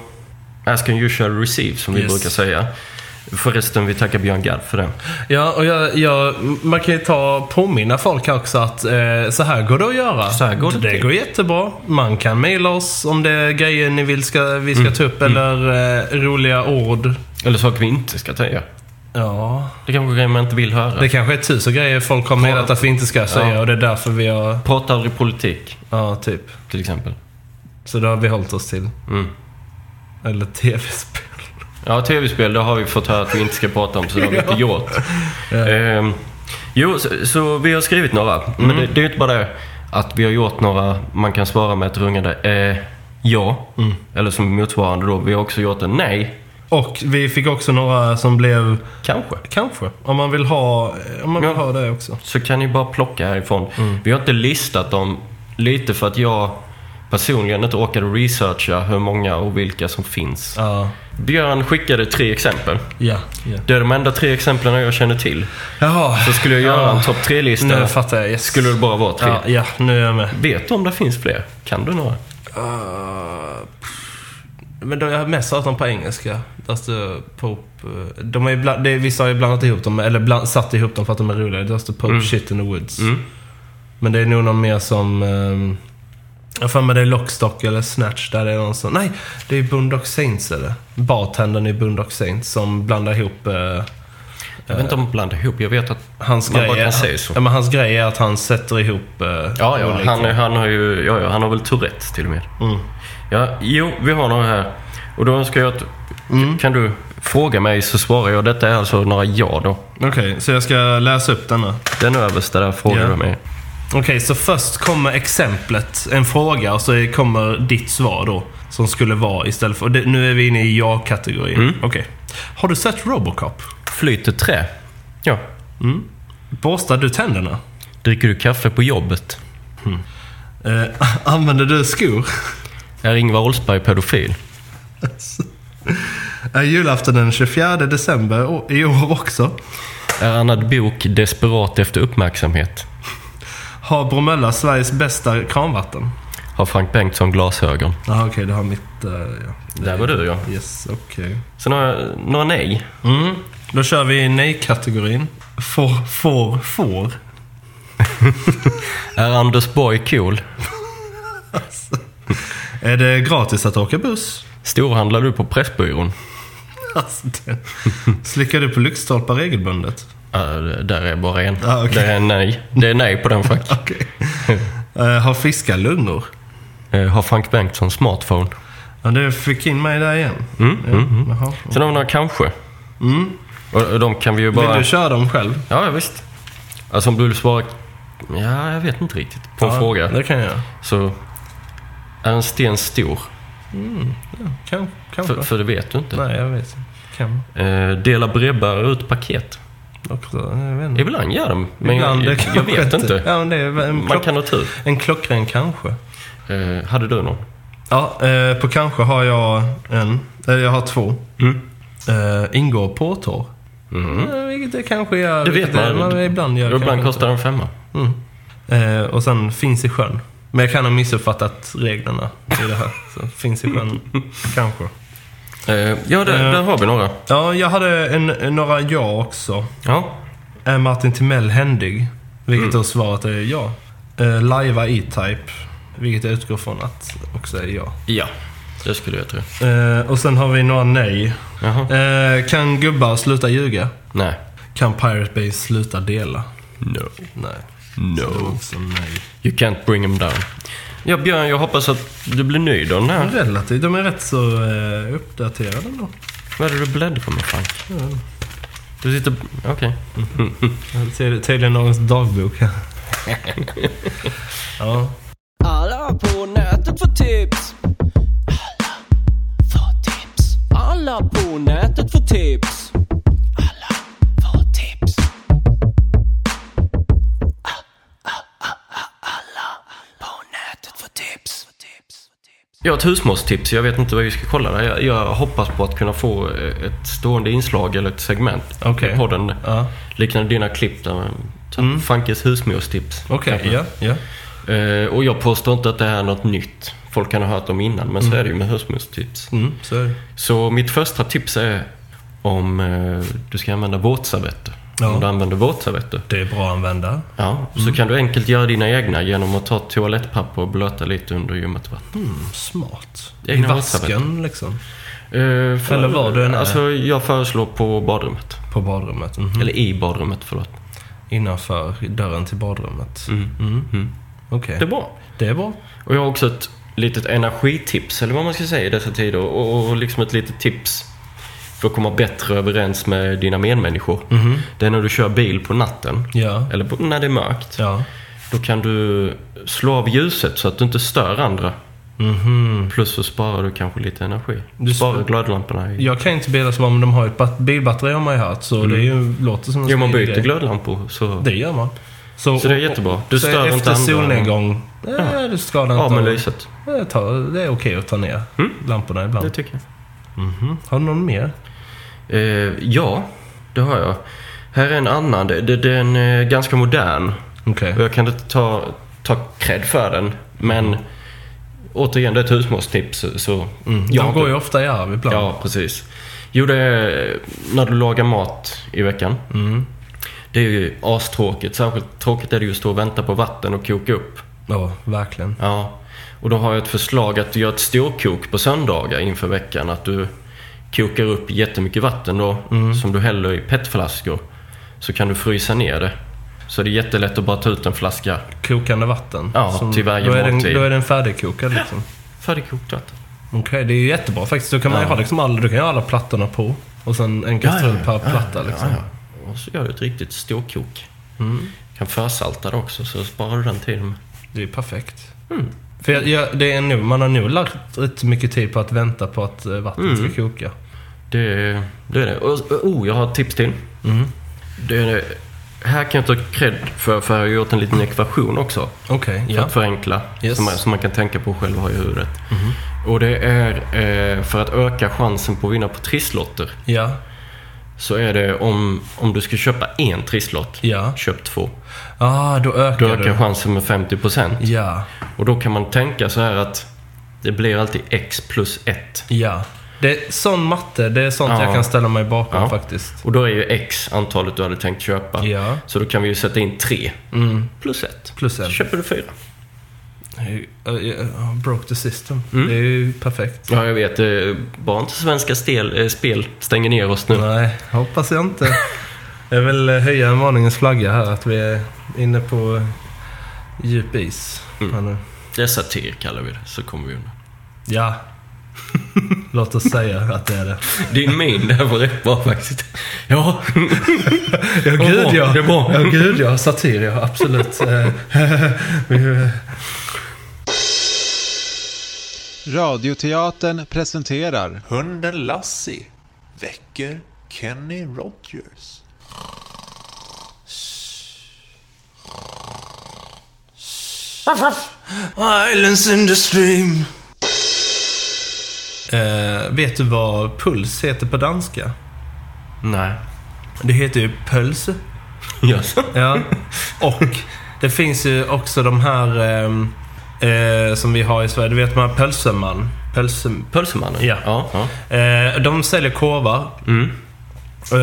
[SPEAKER 1] ask and you shall receive som vi
[SPEAKER 2] Yes.
[SPEAKER 1] brukar säga. Förresten, vi tackar Björn Gadd för det.
[SPEAKER 2] Ja, och jag, jag, man kan ju ta påminna folk här också att eh, så här går det att göra.
[SPEAKER 1] Så här går det
[SPEAKER 2] det
[SPEAKER 1] till.
[SPEAKER 2] går jättebra. Man kan mejla oss om det är grejer ni vill ska, vi
[SPEAKER 1] Mm.
[SPEAKER 2] ska ta upp eller eh, roliga ord.
[SPEAKER 1] Eller saker vi inte ska säga.
[SPEAKER 2] Ja.
[SPEAKER 1] Det kanske är grejer man inte vill höra.
[SPEAKER 2] Det kanske är tusen grejer folk har mejlat att vi inte ska säga
[SPEAKER 1] Ja.
[SPEAKER 2] och det är därför vi har...
[SPEAKER 1] Prata aldrig politik.
[SPEAKER 2] Ja, typ.
[SPEAKER 1] Till exempel.
[SPEAKER 2] Så det har vi hållit oss till.
[SPEAKER 1] Mm.
[SPEAKER 2] Eller tv-spel.
[SPEAKER 1] Ja, tv-spel, det har vi fått höra att vi inte ska prata om, så det har vi inte
[SPEAKER 2] [laughs] Ja.
[SPEAKER 1] gjort. Ehm, jo, så, så vi har skrivit några. Men
[SPEAKER 2] Mm.
[SPEAKER 1] det, det är ju inte bara det att vi har gjort några man kan svara med ett rungande eh, ja.
[SPEAKER 2] Mm.
[SPEAKER 1] Eller som motsvarande då. Vi har också gjort en nej.
[SPEAKER 2] Och vi fick också några som blev...
[SPEAKER 1] Kanske.
[SPEAKER 2] Kanske. Om man vill ha, om man vill ha det också.
[SPEAKER 1] Så kan ni bara plocka härifrån.
[SPEAKER 2] Mm.
[SPEAKER 1] Vi har inte listat dem lite för att jag personligen inte orkade researcha hur många och vilka som finns.
[SPEAKER 2] Ja.
[SPEAKER 1] Björn skickade tre exempel.
[SPEAKER 2] Ja, ja.
[SPEAKER 1] Det är de enda tre exemplen jag känner till.
[SPEAKER 2] Jaha.
[SPEAKER 1] Så skulle jag göra
[SPEAKER 2] Ja.
[SPEAKER 1] en topp tre-lista.
[SPEAKER 2] Nu fattar jag.
[SPEAKER 1] Skulle det bara vara tre.
[SPEAKER 2] Ja, ja, nu är jag med.
[SPEAKER 1] Vet du om det finns fler? Kan du några?
[SPEAKER 2] Ah, pff. men då, jag har mest hört dem på engelska. Där står pop... eh, De är ibland, det är, vissa har ju blandat ihop dem, eller bland, satt ihop dem för att de är roliga. Där står pop
[SPEAKER 1] Mm.
[SPEAKER 2] shit in the woods.
[SPEAKER 1] Mm.
[SPEAKER 2] Men det är nog någon mer som... Um, jag har för mig det är Lockstock eller Snatch där det är någon som... Nej! Det är Boondock Saints eller? Bartendern i Boondock Saints som blandar ihop... eh,
[SPEAKER 1] Jag vet inte om blandar ihop. Jag vet att
[SPEAKER 2] Hans
[SPEAKER 1] man
[SPEAKER 2] grej,
[SPEAKER 1] bara
[SPEAKER 2] är,
[SPEAKER 1] kan säga så.
[SPEAKER 2] Ja, men hans grej är att han sätter ihop... eh,
[SPEAKER 1] Ja, ja.
[SPEAKER 2] olika-
[SPEAKER 1] Han, är- han har ju... Ja, ja. Han har väl Tourettes till och med.
[SPEAKER 2] Mm.
[SPEAKER 1] Ja, jo, vi har några här. Och då önskar jag att... Kan du fråga mig så svarar jag. Detta är alltså några ja då.
[SPEAKER 2] Okej, så jag ska läsa upp denna.
[SPEAKER 1] Den översta där frågar
[SPEAKER 2] Ja.
[SPEAKER 1] du mig.
[SPEAKER 2] Okej, så först kommer exemplet, en fråga, och så kommer ditt svar då. Som skulle vara istället för... och Det, nu är vi inne i ja-kategorin.
[SPEAKER 1] Mm.
[SPEAKER 2] Okej. Har du sett Robocop?
[SPEAKER 1] Flyter trä. Ja.
[SPEAKER 2] Mm. Borstar du tänderna?
[SPEAKER 1] Dricker du kaffe på jobbet?
[SPEAKER 2] Eh, [laughs] använder du skor?
[SPEAKER 1] Är Ingvar Oldsberg pedofil?
[SPEAKER 2] Är julafton den 24 december å- i år också?
[SPEAKER 1] Är Anna Bok desperat efter uppmärksamhet?
[SPEAKER 2] Har Bromölla Sveriges bästa kranvatten?
[SPEAKER 1] Har Frank Bengtsson glasögon?
[SPEAKER 2] Jaha, okej, det har mitt... eh, ja.
[SPEAKER 1] Där var du ja.
[SPEAKER 2] Yes, okej.
[SPEAKER 1] Sen har jag några nej.
[SPEAKER 2] Mm. Då kör vi nej-kategorin. Får, får, får.
[SPEAKER 1] Är Anders Borg cool?
[SPEAKER 2] Är det gratis att
[SPEAKER 1] [laughs]
[SPEAKER 2] åka buss?
[SPEAKER 1] Storhandlar du på Pressbyrån?
[SPEAKER 2] Alltså, det- [laughs] Slickar du på lyktstolpar regelbundet?
[SPEAKER 1] Ja, det- Äh, där är bara en.
[SPEAKER 2] Ah, okej.
[SPEAKER 1] Det är en nej. Det är nej på den
[SPEAKER 2] [laughs]
[SPEAKER 1] faktiskt.
[SPEAKER 2] Eh, har fiskar lungor?
[SPEAKER 1] Eh, Har Frank Bengtsson smartphone?
[SPEAKER 2] Ja, det fick in mig där igen.
[SPEAKER 1] Mm,
[SPEAKER 2] Ja,
[SPEAKER 1] mm, mm.
[SPEAKER 2] jaha.
[SPEAKER 1] Sen har vi några kanske.
[SPEAKER 2] Mm.
[SPEAKER 1] Och och de kan vi ju bara...
[SPEAKER 2] Vill du köra dem själv?
[SPEAKER 1] Ja, ja, visst. Alltså om du vill svara... Ja, jag vet inte riktigt. På en
[SPEAKER 2] Ja,
[SPEAKER 1] fråga.
[SPEAKER 2] det kan jag göra.
[SPEAKER 1] Så... Är en sten stor?
[SPEAKER 2] Mm. Ja, kan, kanske.
[SPEAKER 1] För, för det vet du inte.
[SPEAKER 2] Nej, jag vet inte. Kan.
[SPEAKER 1] Eh, delar brevbärare ut paket?
[SPEAKER 2] Också, jag vet inte.
[SPEAKER 1] Ibland gör de, men
[SPEAKER 2] Ibland, det
[SPEAKER 1] jag, jag,
[SPEAKER 2] [laughs] kanske
[SPEAKER 1] vet inte.
[SPEAKER 2] Ja, men det är en
[SPEAKER 1] Man
[SPEAKER 2] klock-
[SPEAKER 1] kan ha tur.
[SPEAKER 2] En klockren kanske.
[SPEAKER 1] Eh, hade du någon?
[SPEAKER 2] Ja, eh, på kanske har jag en. Eller jag har två. Eh, ingår påtår.
[SPEAKER 1] Mm.
[SPEAKER 2] Eh, Vilket det kanske gör.
[SPEAKER 1] Det vet
[SPEAKER 2] vilket det-
[SPEAKER 1] man.
[SPEAKER 2] Ibland gör
[SPEAKER 1] Ibland
[SPEAKER 2] kanske
[SPEAKER 1] kostar den femma.
[SPEAKER 2] Mm. Eh, och sen finns i sjön. Men jag kan ha missuppfattat reglerna i det här. Så finns i
[SPEAKER 1] [laughs]
[SPEAKER 2] sjön, kanske.
[SPEAKER 1] Eh, ja, där,
[SPEAKER 2] Eh.
[SPEAKER 1] där har vi några.
[SPEAKER 2] Ja, jag hade en, en- några ja också.
[SPEAKER 1] Ja.
[SPEAKER 2] Är Martin Timell händig? Vilket
[SPEAKER 1] Mm.
[SPEAKER 2] då svaret är ja. Eh, Lajva E-Type. Vilket jag utgår från att också är ja.
[SPEAKER 1] Ja, det skulle jag tro.
[SPEAKER 2] Eh, och sen har vi några nej.
[SPEAKER 1] Jaha.
[SPEAKER 2] Eh, kan gubbar sluta ljuga?
[SPEAKER 1] Nej.
[SPEAKER 2] Kan Pirate Bay sluta dela?
[SPEAKER 1] No.
[SPEAKER 2] Nej. Så det var
[SPEAKER 1] No.
[SPEAKER 2] också nej.
[SPEAKER 1] You can't bring them down. Ja, Björn, jag hoppas att du blir nöjd av den här.
[SPEAKER 2] Relativt. De är rätt så eh, uppdaterade ändå.
[SPEAKER 1] Vad är det du bläddrar med, Frank?
[SPEAKER 2] Ja.
[SPEAKER 1] Du sitter... Okej.
[SPEAKER 2] Tydligen någons dagbok här. [laughs] ja.
[SPEAKER 16] Alla på nätet får tips. Alla får tips. Alla på nätet får tips. Alla får tips. Ah, ah, ah, ah, Alla
[SPEAKER 1] Jag har ett husmorstips. Jag vet inte vad vi ska kolla där. Jag, jag hoppas på att kunna få eh, ett stående inslag eller ett segment
[SPEAKER 2] Okej.
[SPEAKER 1] i podden.
[SPEAKER 2] Ja.
[SPEAKER 1] Liknande dina klipp där.
[SPEAKER 2] Mm.
[SPEAKER 1] Mm. Funkes husmorstips.
[SPEAKER 2] Okej,
[SPEAKER 1] kanske.
[SPEAKER 2] ja, ja.
[SPEAKER 1] Eh, och jag påstår inte att det här är något nytt. Folk kan ha hört dem innan, men så
[SPEAKER 2] Mm.
[SPEAKER 1] är det ju med husmorstips.
[SPEAKER 2] Mm, så är det.
[SPEAKER 1] Så mitt första tips är om eh, du ska använda våtservetter.
[SPEAKER 2] Ja.
[SPEAKER 1] Om du använder våtservetter.
[SPEAKER 2] Det är bra att använda.
[SPEAKER 1] Ja, så
[SPEAKER 2] Mm.
[SPEAKER 1] kan du enkelt göra dina egna genom att ta toalettpapper och blöta lite under ljummet vatten.
[SPEAKER 2] Mm, smart. I
[SPEAKER 1] Egna
[SPEAKER 2] vasken
[SPEAKER 1] våtservetter.
[SPEAKER 2] liksom.
[SPEAKER 1] Eh, för-
[SPEAKER 2] Eller var du än är.
[SPEAKER 1] Alltså, jag föreslår på badrummet.
[SPEAKER 2] På badrummet? mhm.
[SPEAKER 1] Eller i badrummet, förlåt.
[SPEAKER 2] Innanför dörren till badrummet?
[SPEAKER 1] Mm. Mm.
[SPEAKER 2] Okej.
[SPEAKER 1] Det är bra.
[SPEAKER 2] Det är bra.
[SPEAKER 1] Och jag har också ett litet energitips, eller vad man ska säga i dessa tider. Och, och liksom ett litet tips för att komma bättre överens med dina medmänniskor.
[SPEAKER 2] Mhm.
[SPEAKER 1] Det är när du kör bil på natten.
[SPEAKER 2] Ja.
[SPEAKER 1] Eller på- när det är mörkt.
[SPEAKER 2] Ja.
[SPEAKER 1] Då kan du slå av ljuset så att du inte stör andra.
[SPEAKER 2] Mhm.
[SPEAKER 1] Plus så sparar du kanske lite energi.
[SPEAKER 2] Du
[SPEAKER 1] Du sparar
[SPEAKER 2] spar-
[SPEAKER 1] glödlamporna. I...
[SPEAKER 2] Jag kan inte bilda så bra, men de har ju ett bat- bilbatteri har man ju hört. Så
[SPEAKER 1] Mm.
[SPEAKER 2] det är ju, låter som en
[SPEAKER 1] Jo, man
[SPEAKER 2] smidig
[SPEAKER 1] byter
[SPEAKER 2] grej.
[SPEAKER 1] glödlampor. Så...
[SPEAKER 2] Det gör man.
[SPEAKER 1] Så det är jättebra. Du
[SPEAKER 2] så
[SPEAKER 1] stör inte
[SPEAKER 2] efter
[SPEAKER 1] andra.
[SPEAKER 2] solnedgång,
[SPEAKER 1] Ja.
[SPEAKER 2] eh, du skadar inte.
[SPEAKER 1] Av med
[SPEAKER 2] någon.
[SPEAKER 1] lyset. Mm.
[SPEAKER 2] Eh, ta- Det är okej att ta ner lamporna ibland.
[SPEAKER 1] Det typ- tycker jag.
[SPEAKER 2] Mhm. Har du någon mer?
[SPEAKER 1] Eh, ja, det har jag. Här är en annan. Det- det- Den är ganska modern.
[SPEAKER 2] Okej.
[SPEAKER 1] Och jag kan inte ta, ta cred för den. Men återigen, det är ett husmorstips. Så
[SPEAKER 2] Mm.
[SPEAKER 1] jag har
[SPEAKER 2] De går
[SPEAKER 1] inte-
[SPEAKER 2] ju ofta i arv ibland.
[SPEAKER 1] Ja, precis. Jo, det är när du lagar mat i veckan.
[SPEAKER 2] Mm.
[SPEAKER 1] Det är ju astråkigt. Särskilt tråkigt är det ju att stå och vänta på vatten och koka upp.
[SPEAKER 2] Ja, verkligen.
[SPEAKER 1] Ja. Och då har jag ett förslag att du gör ett storkok på söndagar inför veckan. Att du kokar upp jättemycket vatten då,
[SPEAKER 2] Mm.
[SPEAKER 1] som du häller i petflaskor. Så kan du frysa ner det. Så det är jättelätt att bara ta ut en flaska.
[SPEAKER 2] Kokande vatten.
[SPEAKER 1] Ja, till varje
[SPEAKER 2] då är den,
[SPEAKER 1] måltid.
[SPEAKER 2] Då är den färdigkokad liksom.
[SPEAKER 1] Färdigkokt vatten.
[SPEAKER 2] Okej, det är ju jättebra faktiskt. Då kan man ju
[SPEAKER 1] Ja.
[SPEAKER 2] ha liksom alla, du kan ju ha alla plattorna på. Och sen en kastrull per platta liksom.
[SPEAKER 1] ja. Och så gör du ett riktigt storkok.
[SPEAKER 2] Mm.
[SPEAKER 1] Kan försalta det också, så sparar du den tiden.
[SPEAKER 2] Det är perfekt.
[SPEAKER 1] Mm.
[SPEAKER 2] För jag, jag, det är nu, man har nog lagt rätt mycket tid på att vänta på att eh, vattnet
[SPEAKER 1] Mm.
[SPEAKER 2] ska koka.
[SPEAKER 1] Det, är- det är det. Och, oh, jag har ett tips till.
[SPEAKER 2] Mm.
[SPEAKER 1] Det är det. Här kan jag ta cred för, för jag har gjort en liten ekvation också.
[SPEAKER 2] Okej,
[SPEAKER 1] För
[SPEAKER 2] ja.
[SPEAKER 1] att förenkla,
[SPEAKER 2] Yes. Mhm.
[SPEAKER 1] som, man, som man kan tänka på själv och ha i huvudet. Och det är eh, för att öka chansen på att vinna på trisslotter.
[SPEAKER 2] Ja.
[SPEAKER 1] Så är det om, om du ska köpa en trisslott, köp två.
[SPEAKER 2] Ah, då ökar
[SPEAKER 1] Då ökar
[SPEAKER 2] du.
[SPEAKER 1] chansen med 50%.
[SPEAKER 2] Ja.
[SPEAKER 1] Och då kan man tänka så här att det blir alltid x plus 1.
[SPEAKER 2] Ja. Det är sån matte. Det är sånt
[SPEAKER 1] Ja.
[SPEAKER 2] jag kan ställa mig bakom
[SPEAKER 1] Ja.
[SPEAKER 2] faktiskt.
[SPEAKER 1] Och då är ju x antalet du hade tänkt köpa.
[SPEAKER 2] Ja.
[SPEAKER 1] Så då kan vi ju sätta in 3.
[SPEAKER 2] Mm.
[SPEAKER 1] Plus 1.
[SPEAKER 2] Plus en.
[SPEAKER 1] Så köper du 4.
[SPEAKER 2] Eh, eh, Broke the system.
[SPEAKER 1] Mm.
[SPEAKER 2] Det är ju perfekt.
[SPEAKER 1] Ja, jag vet. eh, Bara inte svenska stel, eh, spel stänger ner oss nu.
[SPEAKER 2] Nej, hoppas jag inte. Jag vill eh, höja en varningens flagga här att vi är inne på eh, djup is. här
[SPEAKER 1] Mm.
[SPEAKER 2] nu.
[SPEAKER 1] Det är satir kallar vi det, så kommer vi undan.
[SPEAKER 2] Ja. Låt oss säga att det är det.
[SPEAKER 1] Din min där var rätt bra faktiskt. [laughs] Ja.
[SPEAKER 2] Ja,
[SPEAKER 1] Det var
[SPEAKER 2] gud
[SPEAKER 1] bra,
[SPEAKER 2] ja.
[SPEAKER 1] Det är bra.
[SPEAKER 2] Ja, gud ja. Satir ja, absolut. Eh, vi-
[SPEAKER 8] Radioteatern presenterar
[SPEAKER 9] Hunden Lassie väcker Kenny Rogers.
[SPEAKER 7] Islands in the stream.
[SPEAKER 2] eh, vet du vad puls heter på danska?
[SPEAKER 1] Nej.
[SPEAKER 2] Det heter ju pölse.
[SPEAKER 1] Yes.
[SPEAKER 2] Ja. Och det finns ju också de här ehm, eh, som vi har i Sverige. Du vet de här pölseman. Pölse,
[SPEAKER 1] Pölsemannen?
[SPEAKER 2] Ja.
[SPEAKER 1] Ja. ja.
[SPEAKER 2] Eh, de säljer korvar.
[SPEAKER 1] Mm.
[SPEAKER 2] Eh,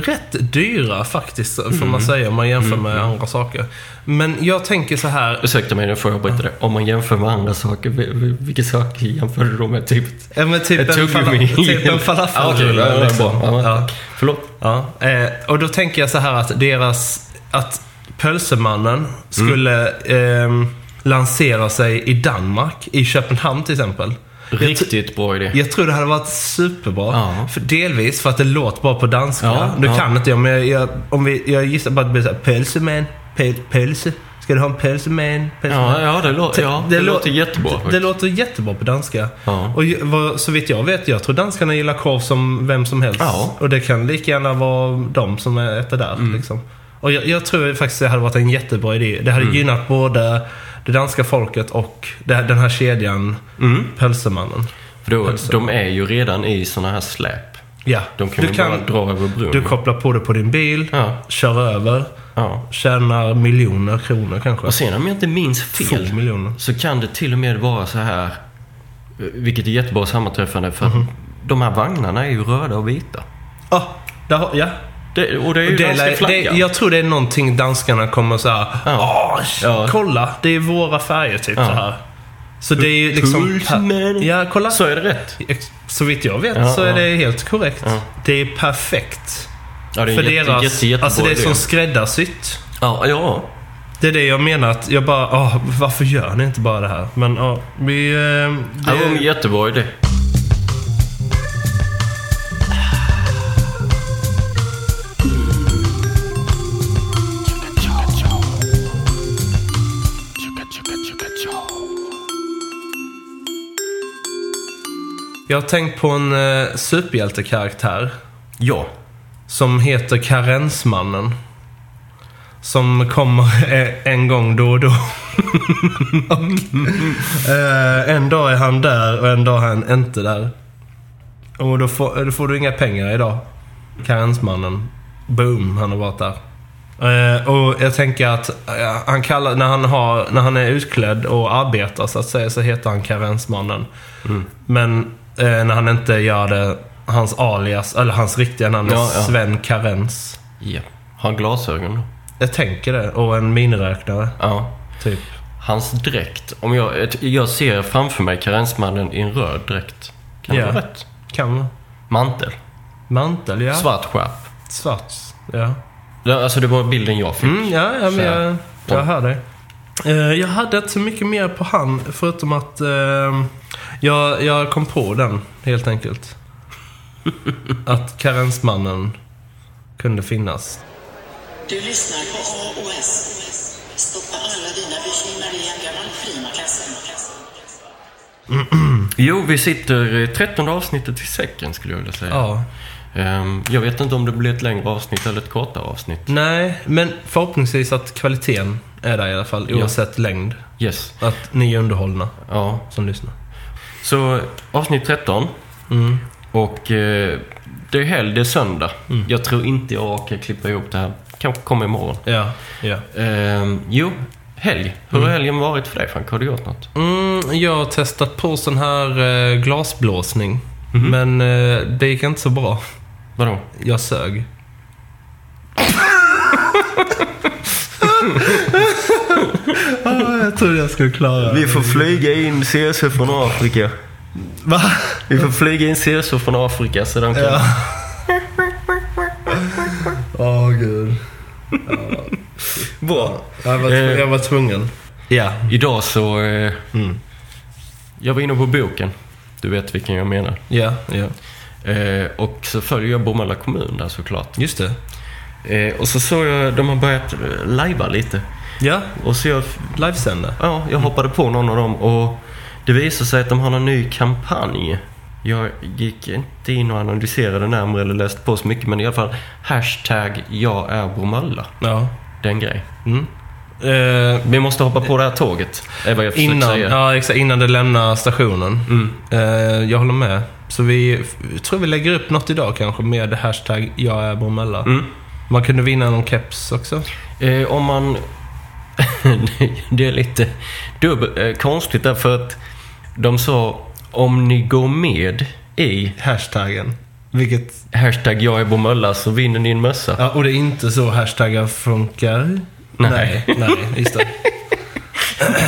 [SPEAKER 2] rätt dyra faktiskt, får
[SPEAKER 1] Mm.
[SPEAKER 2] man säga om man jämför med andra saker. Men jag tänker så här.
[SPEAKER 1] Ursäkta mig, jag får jag bryta det. Om man jämför med andra saker, vil- vil- vilka saker jämför du då med? Typ
[SPEAKER 2] Ja, men typ
[SPEAKER 1] ett
[SPEAKER 2] en, fala,
[SPEAKER 1] tuggummi?
[SPEAKER 2] typ en falafelrulle.
[SPEAKER 1] Ja, okej, ja,
[SPEAKER 2] liksom.
[SPEAKER 1] bra. Ja,
[SPEAKER 2] Ja.
[SPEAKER 1] Förlåt?
[SPEAKER 2] Ja, eh, och då tänker jag så här att deras... Att Pölsemannen skulle
[SPEAKER 1] Mm.
[SPEAKER 2] ehm, lansera sig i Danmark, i Köpenhamn till exempel.
[SPEAKER 1] Riktigt bra idé.
[SPEAKER 2] Jag tror det hade varit superbra.
[SPEAKER 1] Ja.
[SPEAKER 2] För delvis för att det låter bra på danska.
[SPEAKER 1] Ja,
[SPEAKER 2] du
[SPEAKER 1] ja.
[SPEAKER 2] kan inte jag, men jag, jag, om vi, jag gissar på att det blir såhär Pölseman, pöl, pölse. Ska du ha en pölseman?
[SPEAKER 1] Ja, ja, det, lå- ja, det, låter jättebra
[SPEAKER 2] Det, det
[SPEAKER 1] faktiskt.
[SPEAKER 2] låter jättebra på danska.
[SPEAKER 1] Ja.
[SPEAKER 2] Och ju- vad, så vitt jag vet, jag tror danskarna gillar korv som vem som helst.
[SPEAKER 1] Ja. Mm.
[SPEAKER 2] Och det kan lika gärna vara de som
[SPEAKER 1] Mm.
[SPEAKER 2] äter där. Liksom. Och jag, jag tror faktiskt det hade varit en jättebra idé. Det hade gynnat både det danska folket och det- den här kedjan, mm. Pölsemannen.
[SPEAKER 1] För då, de är ju redan i såna här släp.
[SPEAKER 2] Ja.
[SPEAKER 1] De kan
[SPEAKER 2] Alltså. Du
[SPEAKER 1] ju
[SPEAKER 2] kan-
[SPEAKER 1] bara dra över bron.
[SPEAKER 2] Du kopplar på det på din bil, kör över, tjänar miljoner kronor kanske.
[SPEAKER 1] Och sen om jag inte minns fel
[SPEAKER 2] Få miljoner.
[SPEAKER 1] så kan det till och med vara så här, eh, vilket är jättebra sammanträffande för
[SPEAKER 2] Mhm.
[SPEAKER 1] att de här vagnarna är ju röda och vita.
[SPEAKER 2] Ah, där har, ja.
[SPEAKER 1] Det, och det är ju
[SPEAKER 2] Och det
[SPEAKER 1] danska
[SPEAKER 2] lär-
[SPEAKER 1] flaggan.
[SPEAKER 2] det, Jag tror det är någonting danskarna kommer såhär, ah, sh- kolla, det är våra färger typ
[SPEAKER 1] Ja.
[SPEAKER 2] så här. Så det är ju liksom...
[SPEAKER 1] Pulsman.
[SPEAKER 2] Ja, kolla.
[SPEAKER 1] Så är det rätt.
[SPEAKER 2] Så vitt jag vet
[SPEAKER 1] Ja,
[SPEAKER 2] så
[SPEAKER 1] ja.
[SPEAKER 2] är det helt korrekt.
[SPEAKER 1] Ja.
[SPEAKER 2] Det är perfekt.
[SPEAKER 1] Ja, det är en jätte- jätte- jättebra
[SPEAKER 2] Alltså det är
[SPEAKER 1] idé.
[SPEAKER 2] som skräddarsytt.
[SPEAKER 1] Ja, ja.
[SPEAKER 2] Det är det jag menar att jag bara, ah, varför gör ni inte bara det här? Men ja, vi... eh,
[SPEAKER 1] Ja, det var en jättebra idé.
[SPEAKER 2] Jag har tänkt på en eh, superhjältekaraktär.
[SPEAKER 1] Ja.
[SPEAKER 2] Som heter Karensmannen. Som kommer [laughs] eh, en gång då och då. [laughs] och, eh, en dag är han där och en dag är han inte där. Och då får, då får du inga pengar idag. Karensmannen. Boom, han har varit där. Eh, och jag tänker att eh, han kallar, när, han har, när han är utklädd och arbetar så att säga så heter han karensmannen.
[SPEAKER 1] Mm.
[SPEAKER 2] Men eh, när han inte gör det, hans alias, eller hans riktiga namn är
[SPEAKER 1] Ja, ja.
[SPEAKER 2] Sven Karens.
[SPEAKER 1] Ja. Har han glasögon då?
[SPEAKER 2] Jag tänker det. Och en miniräknare.
[SPEAKER 1] Ja.
[SPEAKER 2] Typ.
[SPEAKER 1] Hans dräkt. Om jag, jag ser framför mig karensmannen i en röd dräkt. Kan det
[SPEAKER 2] Ja.
[SPEAKER 1] vara rätt?
[SPEAKER 2] Kan vara.
[SPEAKER 1] Mantel.
[SPEAKER 2] Mantel, ja.
[SPEAKER 1] Svart skärp.
[SPEAKER 2] Svart, ja.
[SPEAKER 1] Ja, Alltså det var bilden jag fick.
[SPEAKER 2] Mm, ja, ja,
[SPEAKER 1] Så
[SPEAKER 2] men
[SPEAKER 1] här.
[SPEAKER 2] jag, jag hör dig. Eh, jag hade inte så mycket mer på han, förutom att eh, jag, jag kom på den,
[SPEAKER 1] [laughs]
[SPEAKER 2] helt enkelt. att karensmannen kunde finnas.
[SPEAKER 17] Du lyssnar på AOS. Stoppa alla dina bekymmer i en gammal frimakasse.
[SPEAKER 1] Jo, vi sitter i 13 avsnittet i säcken skulle jag vilja säga.
[SPEAKER 2] Ja.
[SPEAKER 1] Ehm, jag vet inte om det blir ett längre avsnitt eller ett kortare avsnitt.
[SPEAKER 2] Nej, men förhoppningsvis att kvaliteten är där i alla fall,
[SPEAKER 1] Ja.
[SPEAKER 2] oavsett längd.
[SPEAKER 1] Yes.
[SPEAKER 2] Att ni är underhållna
[SPEAKER 1] ja.
[SPEAKER 2] som lyssnar.
[SPEAKER 1] Så avsnitt 13.
[SPEAKER 2] Mm.
[SPEAKER 1] Och eh, det är helg, det är söndag.
[SPEAKER 2] Mm.
[SPEAKER 1] Jag tror inte jag orkar klippa ihop det här. Kanske kommer imorgon.
[SPEAKER 2] Ja, ja.
[SPEAKER 1] Ehm, jo, helg. Hur har
[SPEAKER 2] Mm.
[SPEAKER 1] helgen varit för dig Frank? Har du gjort något?
[SPEAKER 2] Mm, jag har testat på sån här eh, glasblåsning. Men eh, det gick inte så bra.
[SPEAKER 1] Vadå?
[SPEAKER 2] Jag [laughs] sög. Ah, jag trodde jag skulle klara
[SPEAKER 1] Vi får flyga in CSU från Afrika.
[SPEAKER 2] Va?
[SPEAKER 1] Vi får flyga in CSU från Afrika så de kan...
[SPEAKER 2] Ja. Åh gud.
[SPEAKER 1] Bra.
[SPEAKER 2] Jag var, tv- jag var tvungen. Ja.
[SPEAKER 1] Idag så... Eh,
[SPEAKER 2] Mm.
[SPEAKER 1] Jag var inne på boken. Du vet vilken jag menar.
[SPEAKER 2] Ja, ja.
[SPEAKER 1] Eh, och så följer jag Bromölla kommun där såklart.
[SPEAKER 2] Just
[SPEAKER 1] det. Eh, och så såg jag, de har börjat eh, lajva lite.
[SPEAKER 2] Ja.
[SPEAKER 1] Och så jag...
[SPEAKER 2] Livesända?
[SPEAKER 1] Ja, jag hoppade på någon av dem och det visade sig att de har en ny kampanj. Jag gick inte in och analyserade närmare eller läste på så mycket men i alla fall hashtag jag är Bromölla.
[SPEAKER 2] Ja.
[SPEAKER 1] Den grej.
[SPEAKER 2] Mm.
[SPEAKER 1] Vi måste hoppa på det här tåget. Är vad jag försöker
[SPEAKER 2] Innan,
[SPEAKER 1] säga.
[SPEAKER 2] ja, exakt, innan det lämnar stationen. Eh, jag håller med. Så vi jag tror vi lägger upp något idag kanske med hashtag jag är Bromölla. Man kunde vinna någon keps också.
[SPEAKER 1] Eh, om man... [laughs] det är lite dubb, eh, konstigt därför att de sa om ni går med i
[SPEAKER 2] hashtaggen. Vilket...
[SPEAKER 1] Hashtag jag är Bromölla så vinner ni en mössa. [laughs]
[SPEAKER 2] Ja, och det är inte så hashtaggar funkar.
[SPEAKER 1] Nej.
[SPEAKER 2] nej, nej, just det.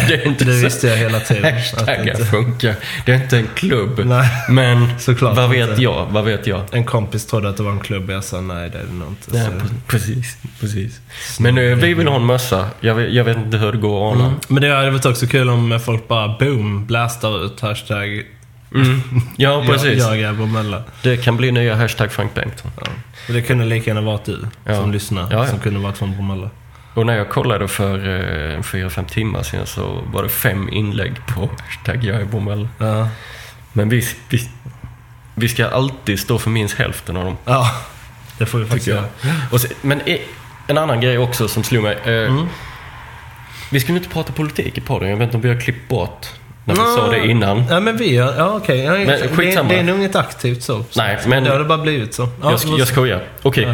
[SPEAKER 1] Det, är inte
[SPEAKER 2] [laughs] Det
[SPEAKER 1] så-
[SPEAKER 2] visste jag hela tiden, [laughs] att det
[SPEAKER 1] Hashtaggar
[SPEAKER 2] inte-
[SPEAKER 1] funkar. Det är inte en klubb.
[SPEAKER 2] Nej.
[SPEAKER 1] Men
[SPEAKER 2] Såklart
[SPEAKER 1] vad vet
[SPEAKER 2] inte.
[SPEAKER 1] jag? Vad vet jag?
[SPEAKER 2] En kompis trodde att det var en klubb. Jag sa nej, det är det nog inte.
[SPEAKER 1] Nej,
[SPEAKER 2] Så-
[SPEAKER 1] pre- precis, precis. Men eh, vi vill ha en mössa. Jag vet, jag vet inte hur det går att ana.
[SPEAKER 2] Mm. Men det hade varit också kul om folk bara boom, blastar ut hashtag
[SPEAKER 1] Mm. Ja, precis.
[SPEAKER 2] Jag, jag är Bromölla.
[SPEAKER 1] Det kan bli nya hashtag Frank Bengtsson.
[SPEAKER 2] Och Det kunde lika gärna varit du
[SPEAKER 1] Ja.
[SPEAKER 2] som lyssnar,
[SPEAKER 1] Ja, ja.
[SPEAKER 2] som kunde varit från Bromölla.
[SPEAKER 1] Och när jag kollade för eh, 4-5 timmar sedan så var det fem inlägg på hashtag jag är bomull. Men vi, vi, vi ska alltid stå för minst hälften av dem.
[SPEAKER 2] Ja, det får vi faktiskt
[SPEAKER 1] Tycker jag.
[SPEAKER 2] göra. Mm.
[SPEAKER 1] Och så, men e- en annan grej också som slog mig. Eh, Vi skulle inte prata politik i podden. Jag vet inte om vi har klippt bort när vi
[SPEAKER 2] Nå,
[SPEAKER 1] sa det innan.
[SPEAKER 2] Ja, men vi gör... Ja, okej. Ja,
[SPEAKER 1] Men
[SPEAKER 2] det,
[SPEAKER 1] skitsamma.
[SPEAKER 2] det är nog inget aktivt så.
[SPEAKER 1] Nej, men-
[SPEAKER 2] Det har det bara blivit så. Ja,
[SPEAKER 1] jag, sk- jag skojar. Okej.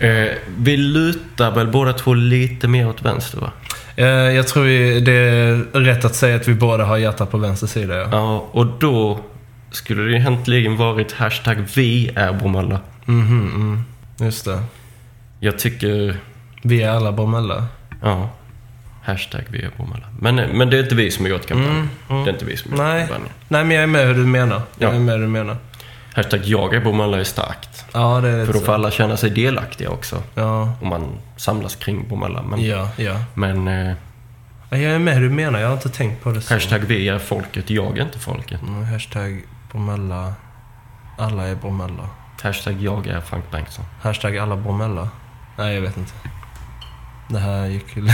[SPEAKER 1] Eh, vi lutar väl båda två lite mer åt vänster va?
[SPEAKER 2] Eh, Jag tror vi- det är rätt att säga att vi båda har hjärtat på vänster sida, ja.
[SPEAKER 1] Ja, och då skulle det ju egentligen varit hashtag vi är Bromölla.
[SPEAKER 2] Mhm, mm. Just det.
[SPEAKER 1] Jag tycker...
[SPEAKER 2] Vi är alla Bromölla.
[SPEAKER 1] Ja. Hashtag vi är Bromölla. Men, men det är inte vi som har gjort kampanjen.
[SPEAKER 2] Mm, mm.
[SPEAKER 1] Det är inte vi som har gjort
[SPEAKER 2] Nej.
[SPEAKER 1] kampanjen.
[SPEAKER 2] Nej, men jag är med hur du menar. Jag
[SPEAKER 1] Ja.
[SPEAKER 2] är med hur du menar.
[SPEAKER 1] Hashtag jag är Bromölla är starkt.
[SPEAKER 2] Ja, det är lite
[SPEAKER 1] För då
[SPEAKER 2] så.
[SPEAKER 1] får alla känna sig delaktiga också.
[SPEAKER 2] Ja.
[SPEAKER 1] Om man samlas kring Bromölla. Men,
[SPEAKER 2] Ja, ja.
[SPEAKER 1] men eh,
[SPEAKER 2] Ja, Jag är med hur du menar. Jag har inte tänkt på det så.
[SPEAKER 1] hashtag vi är folket, jag är inte folket.
[SPEAKER 2] Mm, Hashtag Bromölla. Alla är Bromölla.
[SPEAKER 1] Hashtag jag är Frank Bengtsson.
[SPEAKER 2] Hashtag alla Bromölla. Nej, jag vet inte. Det här gick
[SPEAKER 1] [laughs]
[SPEAKER 2] ju...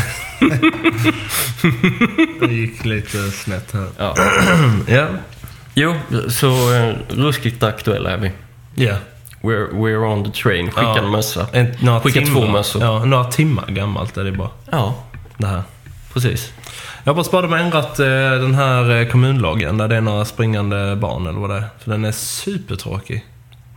[SPEAKER 2] det gick lite snett här.
[SPEAKER 1] Ja.
[SPEAKER 2] ja.
[SPEAKER 1] Jo, så eh, ruskigt aktuella är vi.
[SPEAKER 2] Ja.
[SPEAKER 1] We're, we're on the train. Skicka
[SPEAKER 2] Ja.
[SPEAKER 1] en mössa.
[SPEAKER 2] En, några
[SPEAKER 1] Skicka
[SPEAKER 2] timmar.
[SPEAKER 1] två mössor.
[SPEAKER 2] Ja, några timmar gammalt är det bara.
[SPEAKER 1] Ja.
[SPEAKER 2] Det här.
[SPEAKER 1] Precis.
[SPEAKER 2] Jag hoppas bara de har ändrat eh, den här eh, kommunlagen där det är några springande barn eller vad det är. För den är supertråkig.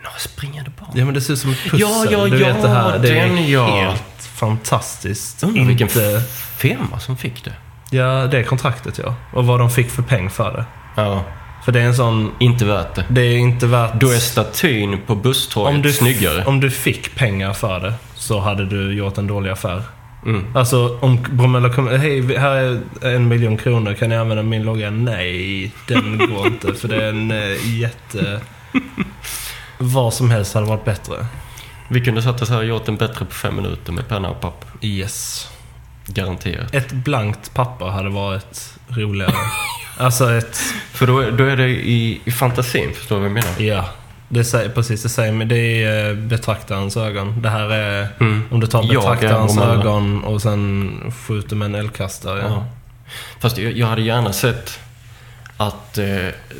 [SPEAKER 1] Några springande barn?
[SPEAKER 2] Ja men det ser ut som ett pussel.
[SPEAKER 1] Ja, ja,
[SPEAKER 2] du vet
[SPEAKER 1] ja,
[SPEAKER 2] det här. Det är
[SPEAKER 1] den, ja.
[SPEAKER 2] helt fantastiskt.
[SPEAKER 1] Undrar
[SPEAKER 2] Inte...
[SPEAKER 1] vilken firma som fick det.
[SPEAKER 2] Ja, det är kontraktet ja. Och vad de fick för peng för det.
[SPEAKER 1] Ja.
[SPEAKER 2] För det är en sån...
[SPEAKER 1] Inte värt det.
[SPEAKER 2] Det är inte värt...
[SPEAKER 1] Då är statyn på busstorget
[SPEAKER 2] Om du,
[SPEAKER 1] snyggare.
[SPEAKER 2] om du fick pengar för det så hade du gjort en dålig affär.
[SPEAKER 1] Mm.
[SPEAKER 2] Alltså om Bromölla kommer... Hej, vi- här är en miljon kronor. Kan ni använda min logga? Nej, den
[SPEAKER 1] [laughs]
[SPEAKER 2] går inte. För det är en eh, jätte... Vad som helst hade varit bättre.
[SPEAKER 1] Vi kunde satt oss här och gjort den bättre på fem minuter med penna och papper.
[SPEAKER 2] Yes.
[SPEAKER 1] Garanterat.
[SPEAKER 2] Ett blankt papper hade varit
[SPEAKER 1] [laughs]
[SPEAKER 2] roligare. alltså ett...
[SPEAKER 1] För då, är- då är det i, i fantasin, förstår du vad jag menar?
[SPEAKER 2] Ja. Det säger, precis, det säger men det är eh, betraktarens ögon. Det här är...
[SPEAKER 1] Mm.
[SPEAKER 2] Om du tar
[SPEAKER 1] Jag är
[SPEAKER 2] betraktarens
[SPEAKER 1] Bromölla.
[SPEAKER 2] ögon och sen skjuter med en eldkastare.
[SPEAKER 1] Ja. Fast jag, jag hade gärna sett att eh,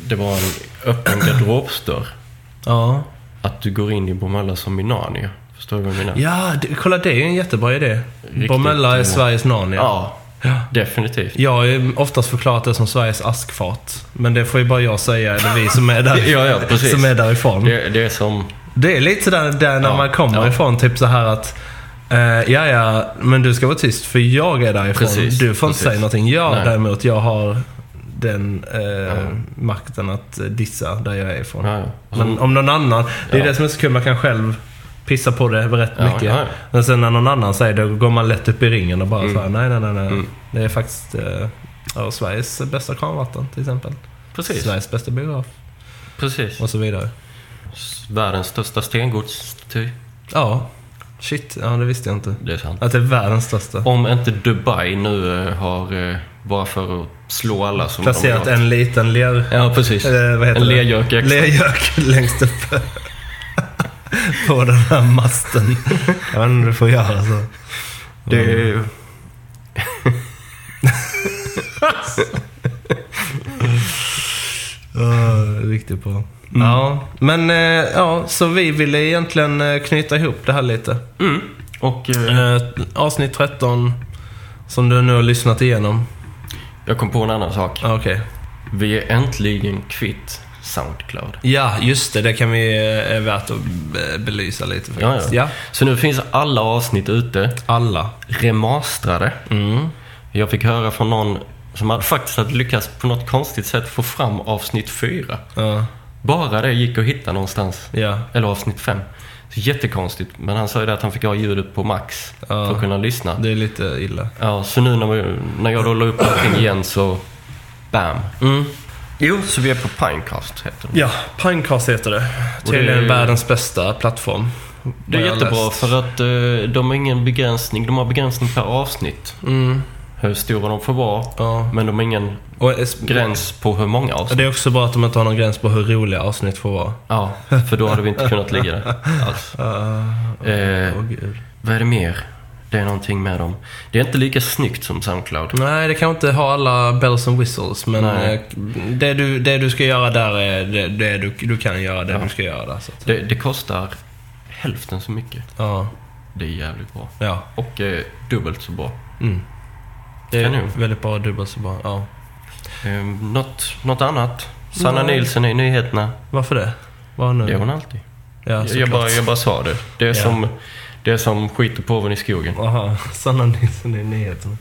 [SPEAKER 1] det var en
[SPEAKER 2] [clears throat]
[SPEAKER 1] öppen garderobsdörr.
[SPEAKER 2] Ja.
[SPEAKER 1] Att du går in i Bromölla som i Narnia. Förstår du vad jag menar?
[SPEAKER 2] Ja, det, kolla det är ju en jättebra idé.
[SPEAKER 1] Riktigt
[SPEAKER 2] Bromölla är
[SPEAKER 1] bra.
[SPEAKER 2] Sveriges Narnia.
[SPEAKER 1] Ja, definitivt.
[SPEAKER 2] Jag har ju oftast förklarat det som Sveriges askfat. Men det får ju bara jag säga, eller vi som är, där,
[SPEAKER 1] [laughs] Ja, ja, precis.
[SPEAKER 2] som är därifrån.
[SPEAKER 1] Det, det är som...
[SPEAKER 2] Det är lite sådär där när
[SPEAKER 1] Ja,
[SPEAKER 2] man kommer
[SPEAKER 1] ja.
[SPEAKER 2] ifrån, typ så här att eh, ja, ja, men du ska vara tyst för jag är därifrån.
[SPEAKER 1] Precis,
[SPEAKER 2] du får inte
[SPEAKER 1] precis.
[SPEAKER 2] säga någonting. Jag
[SPEAKER 1] Nej.
[SPEAKER 2] däremot, jag har den eh, makten att eh, dissa där jag är ifrån.
[SPEAKER 1] Ja, ja. Och så-
[SPEAKER 2] Men om någon annan, det är
[SPEAKER 1] Ja.
[SPEAKER 2] det som är så kul, man kan själv pissa på det rätt
[SPEAKER 1] Ja,
[SPEAKER 2] mycket.
[SPEAKER 1] ja, ja.
[SPEAKER 2] Men sen när någon annan säger det, då går man lätt upp i ringen och bara
[SPEAKER 1] Mm.
[SPEAKER 2] så här, nej, nej, nej, nej.
[SPEAKER 1] Mm.
[SPEAKER 2] Det är faktiskt eh, ja, Sveriges bästa kranvatten till exempel.
[SPEAKER 1] Precis.
[SPEAKER 2] Sveriges bästa biograf.
[SPEAKER 1] Precis.
[SPEAKER 2] Och så vidare.
[SPEAKER 1] Världens största stengodsstaty.
[SPEAKER 2] Ja. Shit, ja det visste jag inte.
[SPEAKER 1] Det är sant.
[SPEAKER 2] Att det är världens största.
[SPEAKER 1] Om inte Dubai nu eh, har, eh, bara för att slå alla som
[SPEAKER 2] Placerat
[SPEAKER 1] de har gjort.
[SPEAKER 2] en liten ler...
[SPEAKER 1] Ja, precis.
[SPEAKER 2] Eh, vad heter
[SPEAKER 1] en
[SPEAKER 2] det?
[SPEAKER 1] lergök extra.
[SPEAKER 2] Lergök längst upp. [laughs] på den här masten. Jag vet inte om du får göra så.
[SPEAKER 1] Det är ju...
[SPEAKER 2] [laughs] Uh, Mm. riktigt bra. Ja, men eh, ja, så vi ville egentligen eh, knyta ihop det här lite.
[SPEAKER 1] Mm. Och eh,
[SPEAKER 2] Eh, avsnitt 13, som du nu har lyssnat igenom.
[SPEAKER 1] jag kom på en annan sak.
[SPEAKER 2] Ah, Okej.
[SPEAKER 1] Vi är äntligen kvitt Soundcloud.
[SPEAKER 2] Ja, just det. Det kan vi, eh, är värt att be- belysa lite faktiskt.
[SPEAKER 1] Ja, ja.
[SPEAKER 2] ja.
[SPEAKER 1] Så nu finns alla avsnitt ute.
[SPEAKER 2] Alla.
[SPEAKER 1] Remasterade.
[SPEAKER 2] Mm.
[SPEAKER 1] Jag fick höra från någon som hade faktiskt hade lyckats på något konstigt sätt få fram avsnitt fyra.
[SPEAKER 2] Ja.
[SPEAKER 1] Bara det gick att hitta någonstans.
[SPEAKER 2] Ja.
[SPEAKER 1] Eller avsnitt 5. Jättekonstigt. Men han sa ju det att han fick ha ljudet på max
[SPEAKER 2] Ja.
[SPEAKER 1] för att kunna lyssna.
[SPEAKER 2] Det är lite illa.
[SPEAKER 1] Ja, så nu när, vi, när jag då la upp allting igen så... Bam!
[SPEAKER 2] Mm.
[SPEAKER 1] Jo, så vi är på Pinecast heter det.
[SPEAKER 2] Ja, Pinecast heter det.
[SPEAKER 1] Och det är-
[SPEAKER 2] Tydligen världens bästa plattform.
[SPEAKER 1] Det är
[SPEAKER 2] Vad jag har
[SPEAKER 1] jättebra
[SPEAKER 2] läst.
[SPEAKER 1] för att eh, de har ingen begränsning. De har begränsning per avsnitt.
[SPEAKER 2] Mm.
[SPEAKER 1] Hur stora de får vara.
[SPEAKER 2] Ja.
[SPEAKER 1] Men de har ingen
[SPEAKER 2] Och es-
[SPEAKER 1] gräns på hur många avsnitt.
[SPEAKER 2] Det är också bra att de inte har någon gräns på hur roliga avsnitt får vara.
[SPEAKER 1] Ja, för då hade vi inte kunnat ligga där
[SPEAKER 2] [laughs]
[SPEAKER 1] alls. Eh,
[SPEAKER 2] Ah, Åh, gud.
[SPEAKER 1] vad är det mer? Det är någonting med dem. Det är inte lika snyggt som Soundcloud.
[SPEAKER 2] Nej, det kan inte ha alla bells and whistles, men
[SPEAKER 1] Nej.
[SPEAKER 2] eh, det du, det du ska göra där är det, det du, du kan göra, det du ska göra där. Så att,
[SPEAKER 1] Det, det kostar hälften så mycket.
[SPEAKER 2] ja.
[SPEAKER 1] Det är jävligt bra.
[SPEAKER 2] ja.
[SPEAKER 1] Och eh, dubbelt så bra.
[SPEAKER 2] Mm.
[SPEAKER 1] Det är nog.
[SPEAKER 2] väldigt bra dubbel så bra. Ja.
[SPEAKER 1] Um, något, något annat? Sanna
[SPEAKER 2] Nej.
[SPEAKER 1] Nielsen i nyheterna.
[SPEAKER 2] Varför det? Vad nu?
[SPEAKER 1] Det är hon alltid.
[SPEAKER 2] Ja,
[SPEAKER 1] jag, jag,
[SPEAKER 2] såklart.
[SPEAKER 1] bara, jag bara sa det. Det är,
[SPEAKER 2] Ja.
[SPEAKER 1] som, det är som skit och påven i skogen.
[SPEAKER 2] Aha, Sanna Nilsson i nyheterna.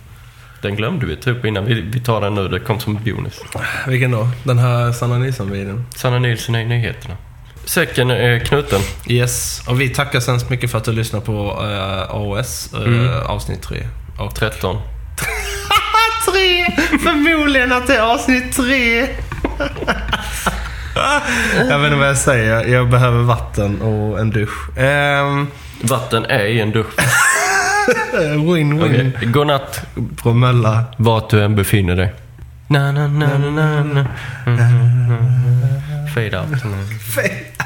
[SPEAKER 1] Den glömde vi ta upp innan. Vi, vi tar den nu. Det kom som en bonus.
[SPEAKER 2] Vilken då? Den här Sanna Nilsson-videon?
[SPEAKER 1] Sanna Nilsson i nyheterna. Säcken är knuten.
[SPEAKER 2] Yes, och vi tackar så hemskt mycket för att du lyssnar på eh, AOS eh,
[SPEAKER 1] Mm.
[SPEAKER 2] avsnitt 3. Och
[SPEAKER 1] 13.
[SPEAKER 2] tre! Förmodligen att det är avsnitt tre. jag vet inte vad jag säger. Jag behöver vatten och en dusch. Ehm,
[SPEAKER 1] Vatten är i en
[SPEAKER 2] [laughs]
[SPEAKER 1] dusch.
[SPEAKER 2] Win-win.
[SPEAKER 1] Okej, Godnatt.
[SPEAKER 2] Promella.
[SPEAKER 1] Vart du än befinner dig.
[SPEAKER 2] Mm.
[SPEAKER 1] Na, na, na, na, na, na. Fade out.
[SPEAKER 2] Fade